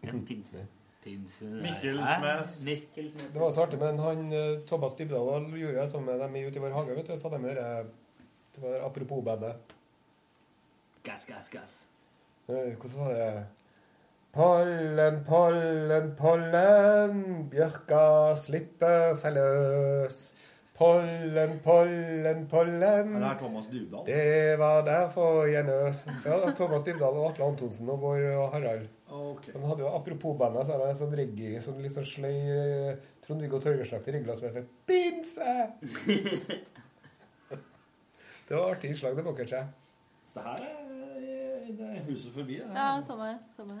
En pinse. Pinse nei.
Mikkelsnes.
Hæ? Mikkelsnes.
Det var så artig, men han, eh, Thomas Dybdahl gjorde jeg sammen med dem i ute i vår hage. vet du, Så hadde de det der, det var apropos-bandet.
Gass, gass, gass.
Eh, Hvordan var det? Pollen, pollen, pollen, bjørka slipper seg løs. Pollen, pollen, pollen.
Men det er Thomas Dybdahl.
Det var derfor jeg nøs. Ja, Thomas Dybdahl og Atle Antonsen og Bård og Harald. Som hadde jo Apropos-bandet, så er det en sånn reggae, sånn litt sånn sløy eh, Trond-Viggo Torgerslagt i regla som heter [laughs] Pinse! Det var artig innslag, det bukker seg.
Det her er, det er huset forbi. Det her.
Ja, samme, samme.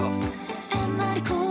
NRK